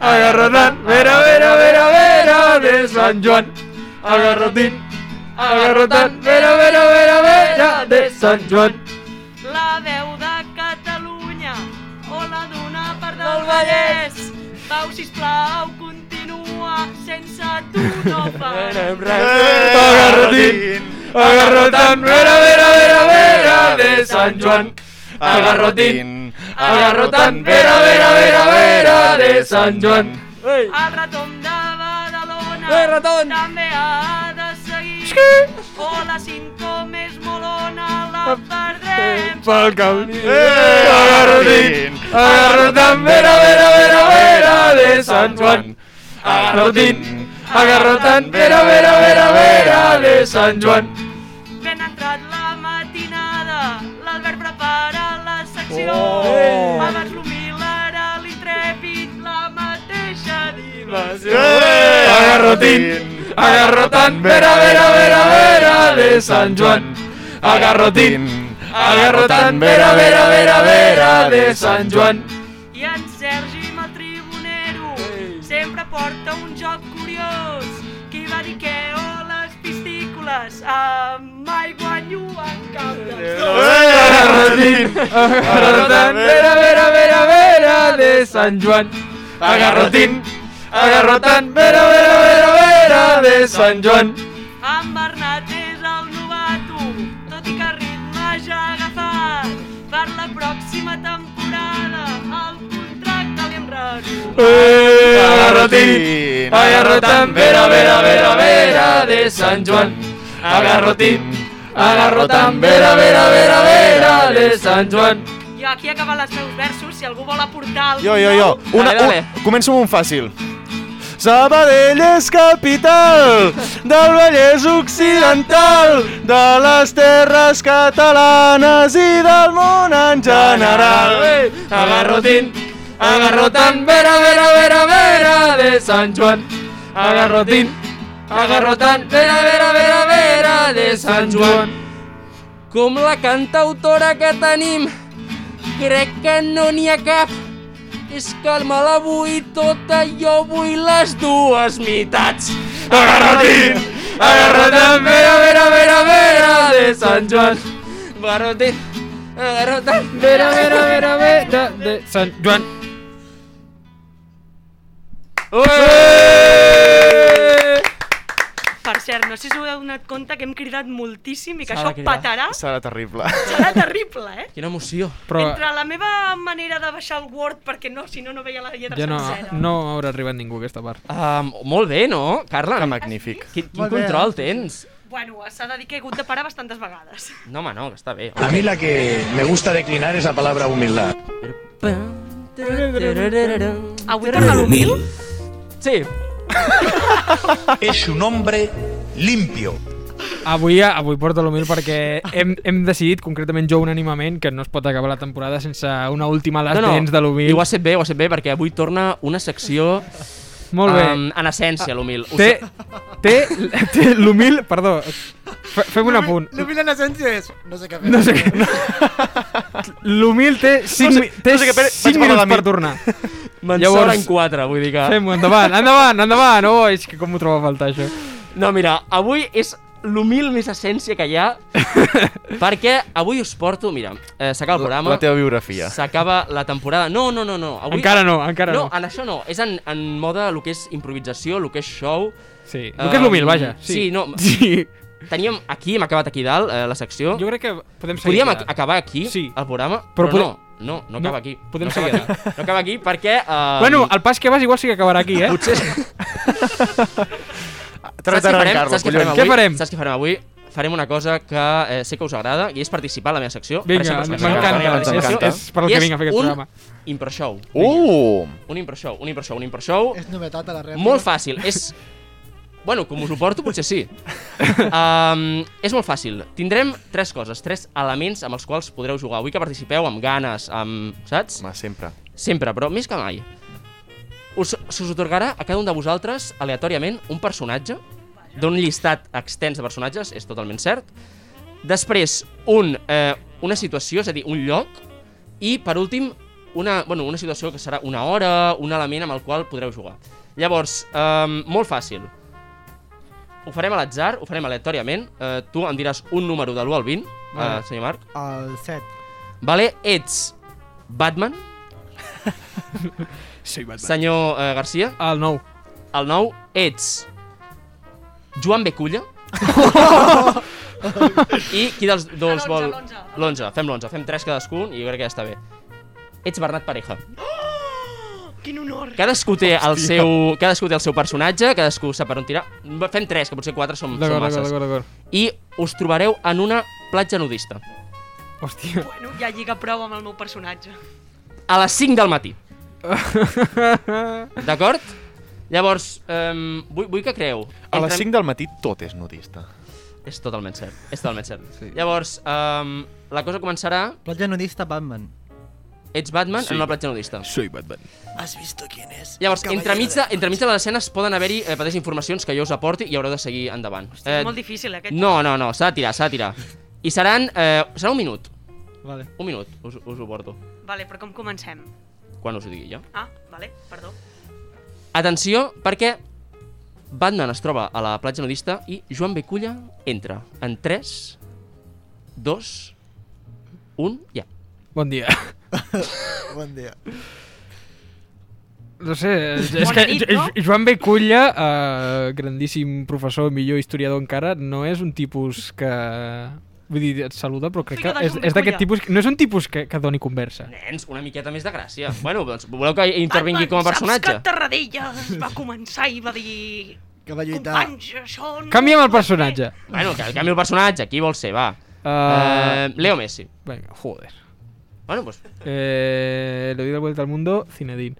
C: agarrotan, vera, vera, vera, vera de San Juan. Agarrotín, agarrotan, vera, vera, vera, vera de San Juan.
Q: La veu de Catalunya o la d'una part del Vallès. Pau, sisplau, continua, sense tu no Eh, farem
C: Agarrotín, agarrotan, vera, vera, vera, vera de San Juan. Agarrotín, agarrotan, vera, vera, vera, vera de San Joan.
Q: Ei. El retom de Badalona
K: Ei, retorn.
Q: també ha de seguir. O la cinco més molona la perdrem.
C: Pel camí. Agarrotín, agarrotan, vera, vera, vera, vera de San Joan. Agarrotín, agarrotan, vera, vera, vera, vera de San Joan.
Q: Ben entrat la matinada, l'Albert prepara la secció.
C: Oh.
Q: Abans l'humilar a l'intrèpid la mateixa diversió.
C: ¡Eh! Agarrotín, agarrotan, vera, vera, vera, vera de San Joan. Agarrotín, agarrotan, vera, vera, vera, vera de San Joan.
Q: I en Sergi amb el tribunero sempre porta un joc curiós. Qui va dir que o les pistícules ah, mai guanyo en cap dels
C: ¡Eh!
Q: dos.
C: Agarrotín, agarrotan, vera, vera, vera, vera de San Joan. Agarrotín, agarrotan, vera, vera, vera, vera de San Joan.
Q: En Bernat és el novato, tot i que ritme ja ha agafat. Per la pròxima temporada el contracte l'hem renovat.
C: Eh, agarrotín, agarrotan, vera, vera, vera, vera de San Joan. Agarrotín, agarrotan, vera, vera, vera, vera de San Joan.
Q: Jo aquí he acabat els meus versos, si algú vol aportar alguna
G: Jo, jo, jo. Una, un, començo amb un fàcil.
P: Sabadell és capital del Vallès Occidental, de les terres catalanes i del món en general.
C: Ei, agarrotín, agarrotan, vera, vera, vera, vera de San Juan. Agarrotín, agarrotan, vera, vera, vera, vera de San Juan.
F: Com la cantautora que tenim, crec que no n'hi ha cap. És que me la vull tota, jo vull les dues mitats.
C: Agarrotín, agarrotan, vera, vera, vera, vera de San Juan.
F: Agarrotín, agarrotan,
A: vera, vera, vera, vera de Sant Joan.
D: Per cert, no sé si us heu donat compte que hem cridat moltíssim i que
G: S'ha de
D: això
G: cridar.
D: petarà.
G: Serà terrible.
D: Serà terrible, eh?
F: Quina emoció.
A: Però
D: Entre la meva manera de baixar el Word, perquè no, si no, no veia la lletra
A: ja no,
D: sencera.
A: no haurà arribat ningú a aquesta part.
F: Um, molt bé, no, Carla? Que
G: magnífic.
F: Quin, quin
D: Molt bé.
F: control tens.
D: Bueno, s'ha de dir que he hagut de parar bastantes vegades.
F: No, home, no, que està bé.
B: A mí la que me gusta declinar es la palabra humildad.
D: Avui torna l'humil?
F: Sí.
B: Es un hombre limpio.
A: Avui, avui porta l'humil perquè hem, hem decidit, concretament jo unànimament, que no es pot acabar la temporada sense una última a les no, dents de l'humil.
F: I ho ha set bé, ho ha set bé, perquè avui torna una secció...
A: Molt bé.
F: em, en essència, l'humil. Ho
A: Té,
F: sé-
A: té, té l'humil... Perdó, fe- fem un apunt.
H: L'humil en essència és... No sé què fer.
A: No sé què... no. L'humil té 5,
H: No
A: no
H: sé-
A: sé,
H: no sé què fer,
A: té 5
H: vaig parlar
A: minuts
H: de mi.
A: per tornar.
F: Me'n sobren quatre, vull dir que-
A: Fem-ho, endavant, endavant, endavant. Oh, és que com ho trobo a faltar, això.
F: No, mira, avui és l'humil més essència que hi ha, perquè avui us porto... Mira, eh, s'acaba el
G: La-
F: programa...
G: la teva biografia.
F: S'acaba la temporada... No, no, no, no. Avui...
A: Encara no, encara
F: no.
A: no.
F: No, en això no. És en, en moda el que és improvisació, el que és show... Eh,
A: Sí, el que és l'humil, vaja, sí.
F: Sí, no...
A: Sí.
F: Teníem aquí, hem acabat aquí dalt, eh, la secció.
A: Jo crec que podem seguir
F: Podíem
A: aquí
F: ac- acabar aquí, sí. el programa,
A: Però
F: però,
A: podem-
F: no, no, no
A: No,
F: acaba aquí.
A: podem
F: no acaba
A: seguir
F: aquí. No acaba aquí perquè... Um...
A: Bueno, el pas que vas igual sí que acabarà aquí, eh?
F: Potser... Saps què farem? Saps què farem avui?
A: Què farem?
F: Saps què farem avui? Farem una cosa que eh, sé que us agrada i és participar a la meva secció.
A: Vinga,
F: Per sempre us
A: m'encanta,
F: agrada la meva
A: ens
F: secció.
A: encanta. És- és per al
F: I
A: que vinc a fer aquest
F: un
A: programa.
F: improshow.
G: Uh!
F: Un improshow, un improshow, un improshow.
H: És novetat a la rèplica.
F: Molt fàcil, és... Bueno, com us ho porto, potser sí. Um, és molt fàcil. Tindrem tres coses, tres elements amb els quals podreu jugar. Vull que participeu amb ganes, amb... saps?
G: Home, sempre.
F: Sempre, però més que mai. Us, se us otorgarà a cada un de vosaltres, aleatòriament, un personatge d'un llistat extens de personatges, és totalment cert. Després, un, eh, una situació, és a dir, un lloc. I, per últim, una, bueno, una situació que serà una hora, un element amb el qual podreu jugar. Llavors, um, molt fàcil. Ho farem a l'atzar, ho farem aleatòriament. Eh, tu em diràs un número de l'1 al 20, eh,
H: Vale.
F: senyor Marc.
H: El 7.
F: Vale, ets Batman.
A: Soy Batman.
F: Senyor eh, Garcia.
A: El 9.
F: El 9 ets Joan Beculla. I qui dels dos vol... L'11, fem l'11, fem 3 cadascun i jo crec que ja està bé. Ets Bernat Pareja.
D: Quin honor.
F: Cadascú té, el
D: Hòstia.
F: seu, cadascú té el seu personatge, cadascú sap per on tirar. Fem 3, que potser 4 som,
A: D'acord,
F: som
A: d'acord,
F: masses.
A: d'acord, d'acord.
F: I us trobareu en una platja nudista.
A: Hòstia.
D: Bueno, ja lliga prou amb el meu personatge.
F: a les 5 del matí. D'acord? Llavors, um, vull, vull que creu.
G: A les 5 del matí tot és nudista.
F: És totalment cert, és totalment cert. Sí. Llavors, um, la cosa començarà...
H: Platja nudista Batman.
F: Ets Batman
H: Sí.
F: en una platja nudista.
G: Soy Batman.
H: Has visto quién es?
F: Llavors, entremig de, entremig de les escenes poden haver-hi eh, petites informacions que jo us aporti i haureu de seguir endavant.
D: Hòstia, és molt difícil, eh, aquest
F: No, no, no, s'ha de tirar, s'ha de tirar. I seran... Eh, serà un minut.
H: Vale.
F: Un minut, us, us ho porto.
D: Vale, però com comencem?
F: Quan us ho digui jo.
D: Ah, vale, perdó.
F: Atenció, perquè Batman es troba a la platja nudista i Joan Beculla entra en 3, 2, 1, ja.
A: Bon dia.
H: Bon dia.
A: No sé, és, és
F: Bona
A: que
F: nit,
A: Jo-
F: no?
A: Joan Beculla, eh, grandíssim professor, millor historiador encara, no és un tipus que... Vull dir, et saluda, però crec que
F: Fica de
A: és,
F: Joan
A: és d'aquest
F: Beculla.
A: tipus... No és un tipus que, que doni conversa.
F: Nens, una miqueta més de gràcia. bueno, doncs voleu que intervingui com a
D: Ah, Saps
F: personatge?
D: que Tarradellas va començar i va dir...
H: Que va lluitar.
D: Companys, això no...
A: Canvia'm el personatge.
F: Bueno, que canvi el personatge, qui vol ser, va.
A: Eh,
F: Uh... Leo Messi.
A: Venga, joder.
F: Bueno, doncs, pues,
A: Eh, le doy la vuelta al mundo, Zinedine.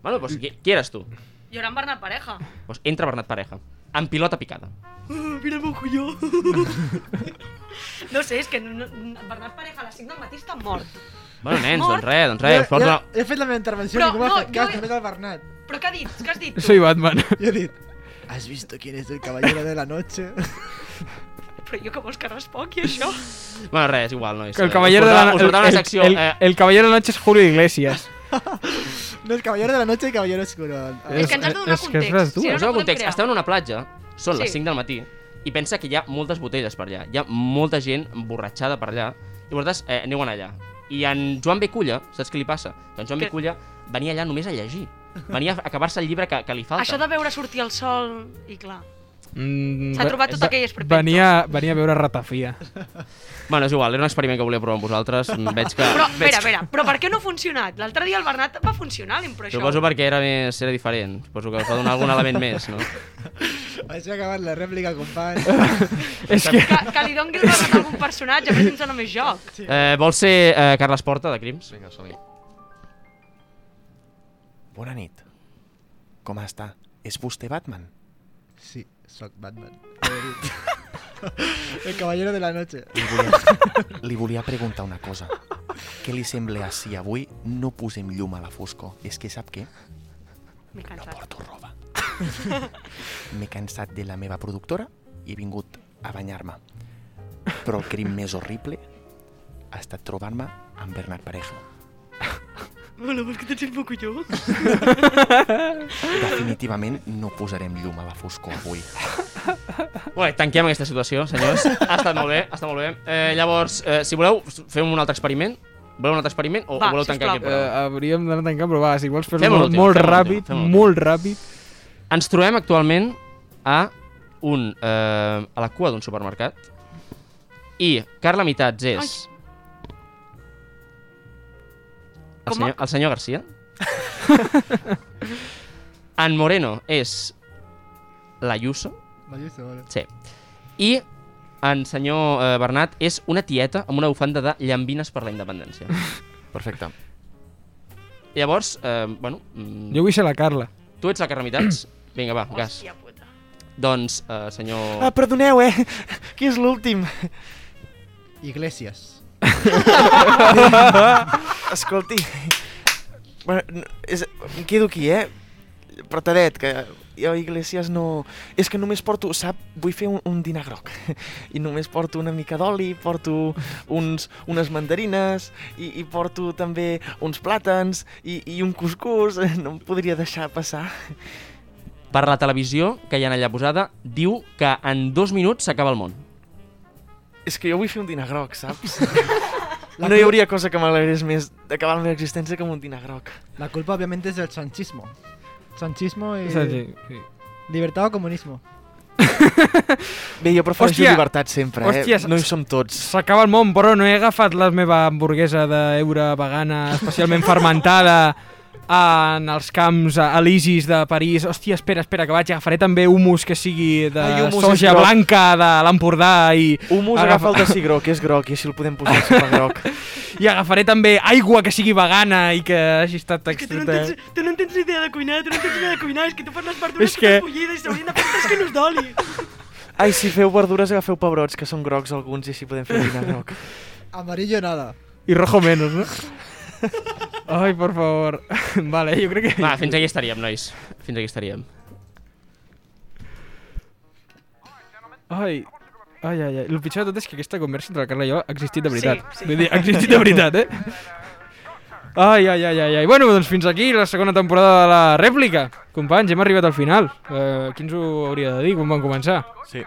F: bueno, pues doncs, qui, qui eres tu?
D: I ara en Bernat Pareja.
F: Doncs entra Bernat Pareja, amb pilota picada.
D: Ah, Mira el meu colló. no sé, és que no, no, Bernat Pareja a les 5 del matí està mort.
F: Bueno, nens, doncs res, doncs res, us
H: Jo,
F: porto...
H: jo,
F: la-
H: he fet la meva intervenció,
D: Però
H: ningú m'ha
D: no,
H: fet cas,
D: jo-
H: només el Bernat.
D: Però què ha dit? Què has dit tu?
A: Soy Batman.
H: Jo he dit, has visto quién es el caballero de la noche?
D: Però jo que vols que respongui, això?
F: Bueno, res, és igual, nois.
A: Que el
F: Eh,
A: caballero de
F: us
A: la
F: portava- us portava
A: el,
F: una secció...
A: el-
F: eh,
A: el caballero de la noche es Julio Iglesias.
H: No, el caballero de la noche i caballero oscuro.
A: És- és que és res dur.
F: us dono context, esteu en una platja, són les
H: Sí.
F: 5 del matí, i pensa que hi ha moltes botelles per allà, hi ha molta gent borratxada per allà, i vosaltres eh, aneu allà. I en Joan Beculla, saps què li passa? Que en Joan
D: Què?
F: Beculla venia allà només a llegir. Venia a acabar-se el llibre que, que li falta.
D: Això de veure sortir el sol i clar.
A: Mm,
D: S'ha trobat tot aquell esperpento.
A: Venia, venia a veure Ratafia.
F: Bueno, és igual, era un experiment que volia provar amb vosaltres, mm, veig que...
D: Però,
F: veig
D: espera, espera, però per què no ha funcionat? L'altre dia el Bernat va funcionar
F: Que...
D: l'improviseu.
F: Suposo perquè era més era diferent, suposo que us va donar algun element més, no?
H: Vaig acabar la rèplica, company.
F: És que-
D: Que, que li doni el Bernat a algun personatge, però sense només joc.
F: Eh, vols ser eh, Carles Porta, de Crims?
G: Vinga, som-hi. Bona nit. Com està? És vostè Batman?
H: Sí, sóc Batman. El caballero de la noche.
G: Li volia, li volia preguntar una cosa. Què li sembla si avui no posem llum a la foscor? És que sap què?
D: M'he cansat. No porto roba.
G: M'he cansat de la meva productora i he vingut a banyar-me. Però el crim més horrible ha estat trobar-me amb Bernat Pareja.
D: Hola, vols que tens el poco jo?
G: Definitivament no posarem llum a la foscor avui.
F: Bé, tanquem aquesta situació, senyors. Ha estat molt bé, ha estat molt bé. Eh, llavors, eh, si voleu, fem un altre experiment. Voleu un altre experiment o, o voleu tancar aquest
A: Eh,
F: programa?
A: hauríem d'anar tancant, però va, si vols fer-lo
F: Fem
A: molt,
F: l'últim,
A: molt
F: fem l'últim,
A: ràpid,
F: fem l'últim.
A: molt ràpid.
F: Ens trobem actualment a un, eh, a la cua d'un supermercat i Carla Mitats és... El
D: Com a-
F: senyor, el senyor Garcia. en Moreno és la Yuso.
H: La Yuso, vale.
F: Sí. I en senyor eh, Bernat és una tieta amb una bufanda de llambines per la independència.
G: Perfecte.
F: Llavors, eh, bueno... mm,
A: Jo vull ser la Carla.
F: Tu ets la Carla Mitats? Vinga, va, gas.
D: puta.
F: Doncs, eh, senyor...
P: Ah, perdoneu, eh? Qui és l'últim?
H: Iglesias.
P: Escolti... Bueno, no, és, em quedo aquí, eh? Pratadet, que jo a Iglesias no... És que només porto, sap, vull fer un, un dinar groc. I només porto una mica d'oli, porto uns, unes mandarines, i, i porto també uns plàtans, i, i un cuscús. No em podria deixar passar.
F: Per la televisió que hi ha allà posada, diu que en dos minuts s'acaba el món.
P: És que jo vull fer un dinar groc, saps?
H: La
P: No hi
H: cul-
P: hauria cosa que m'alegrés més d'acabar la meva existència que amb un dinar groc.
H: La culpa, obviamente, es del sanchismo. Sanchismo y...
A: Sanchi- sí.
H: Libertad o comunismo.
P: Bé, jo prefereixo
A: Hòstia!
P: llibertat sempre, eh?
A: Hòstia,
P: No hi som tots.
A: S'acaba el món, però no he agafat la meva hamburguesa d'eura vegana, especialment fermentada, en els camps a- elisis de París. Hòstia, espera, espera, que vaig. Agafaré també humus que sigui de
P: Ai, humus és
A: Eh, soja
P: groc.
A: blanca de l'Empordà i...
P: Humus agafa el de si groc, és groc, i així el podem posar al sopar groc.
A: I agafaré també aigua que sigui vegana i que hagi estat eh? extreta.
H: eh.
D: Tu no en tens ni idea de cuinar, tu no en tens ni idea de cuinar, és que tu formes part
A: És que-
D: bullides i s'haurien de fer tres quilos d'oli.
P: Ai, si feu verdures, agafeu pebrots, que són grocs alguns, i així podem fer dinar groc.
H: Amarillo nada.
A: I rojo menos, no? Ai, por favor. Vale, jo crec que...
F: Va, fins aquí estaríem, nois. Fins aquí estaríem.
A: Ai, ai, ai, ai. El pitjor de tot és que aquesta conversa entre la Carla i jo ha existit de
F: Sí,
A: veritat.
F: sí.
A: Vull dir, ha existit de veritat, eh? Ai, ai, ai, ai, ai. Bueno, doncs fins aquí la segona temporada de la rèplica. Companys, hem arribat al final. Uh, qui ens ho hauria de dir quan vam començar?
G: Sí.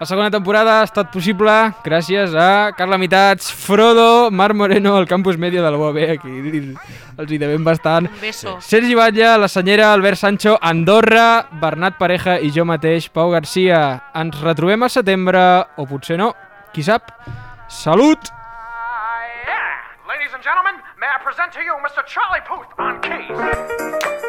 A: La segona temporada ha estat possible gràcies a Carla Mitats, Frodo, Mar Moreno, al Campus Media de la UAB, aquí els hi devem bastant.
D: Un beso.
A: Sergi Batlle, la senyera, Albert Sancho, Andorra, Bernat Pareja i jo mateix, Pau Garcia. Ens retrobem al setembre, o potser no, qui sap. Salut!
S: Ladies and gentlemen, may I present to you Mr. Charlie Puth on keys.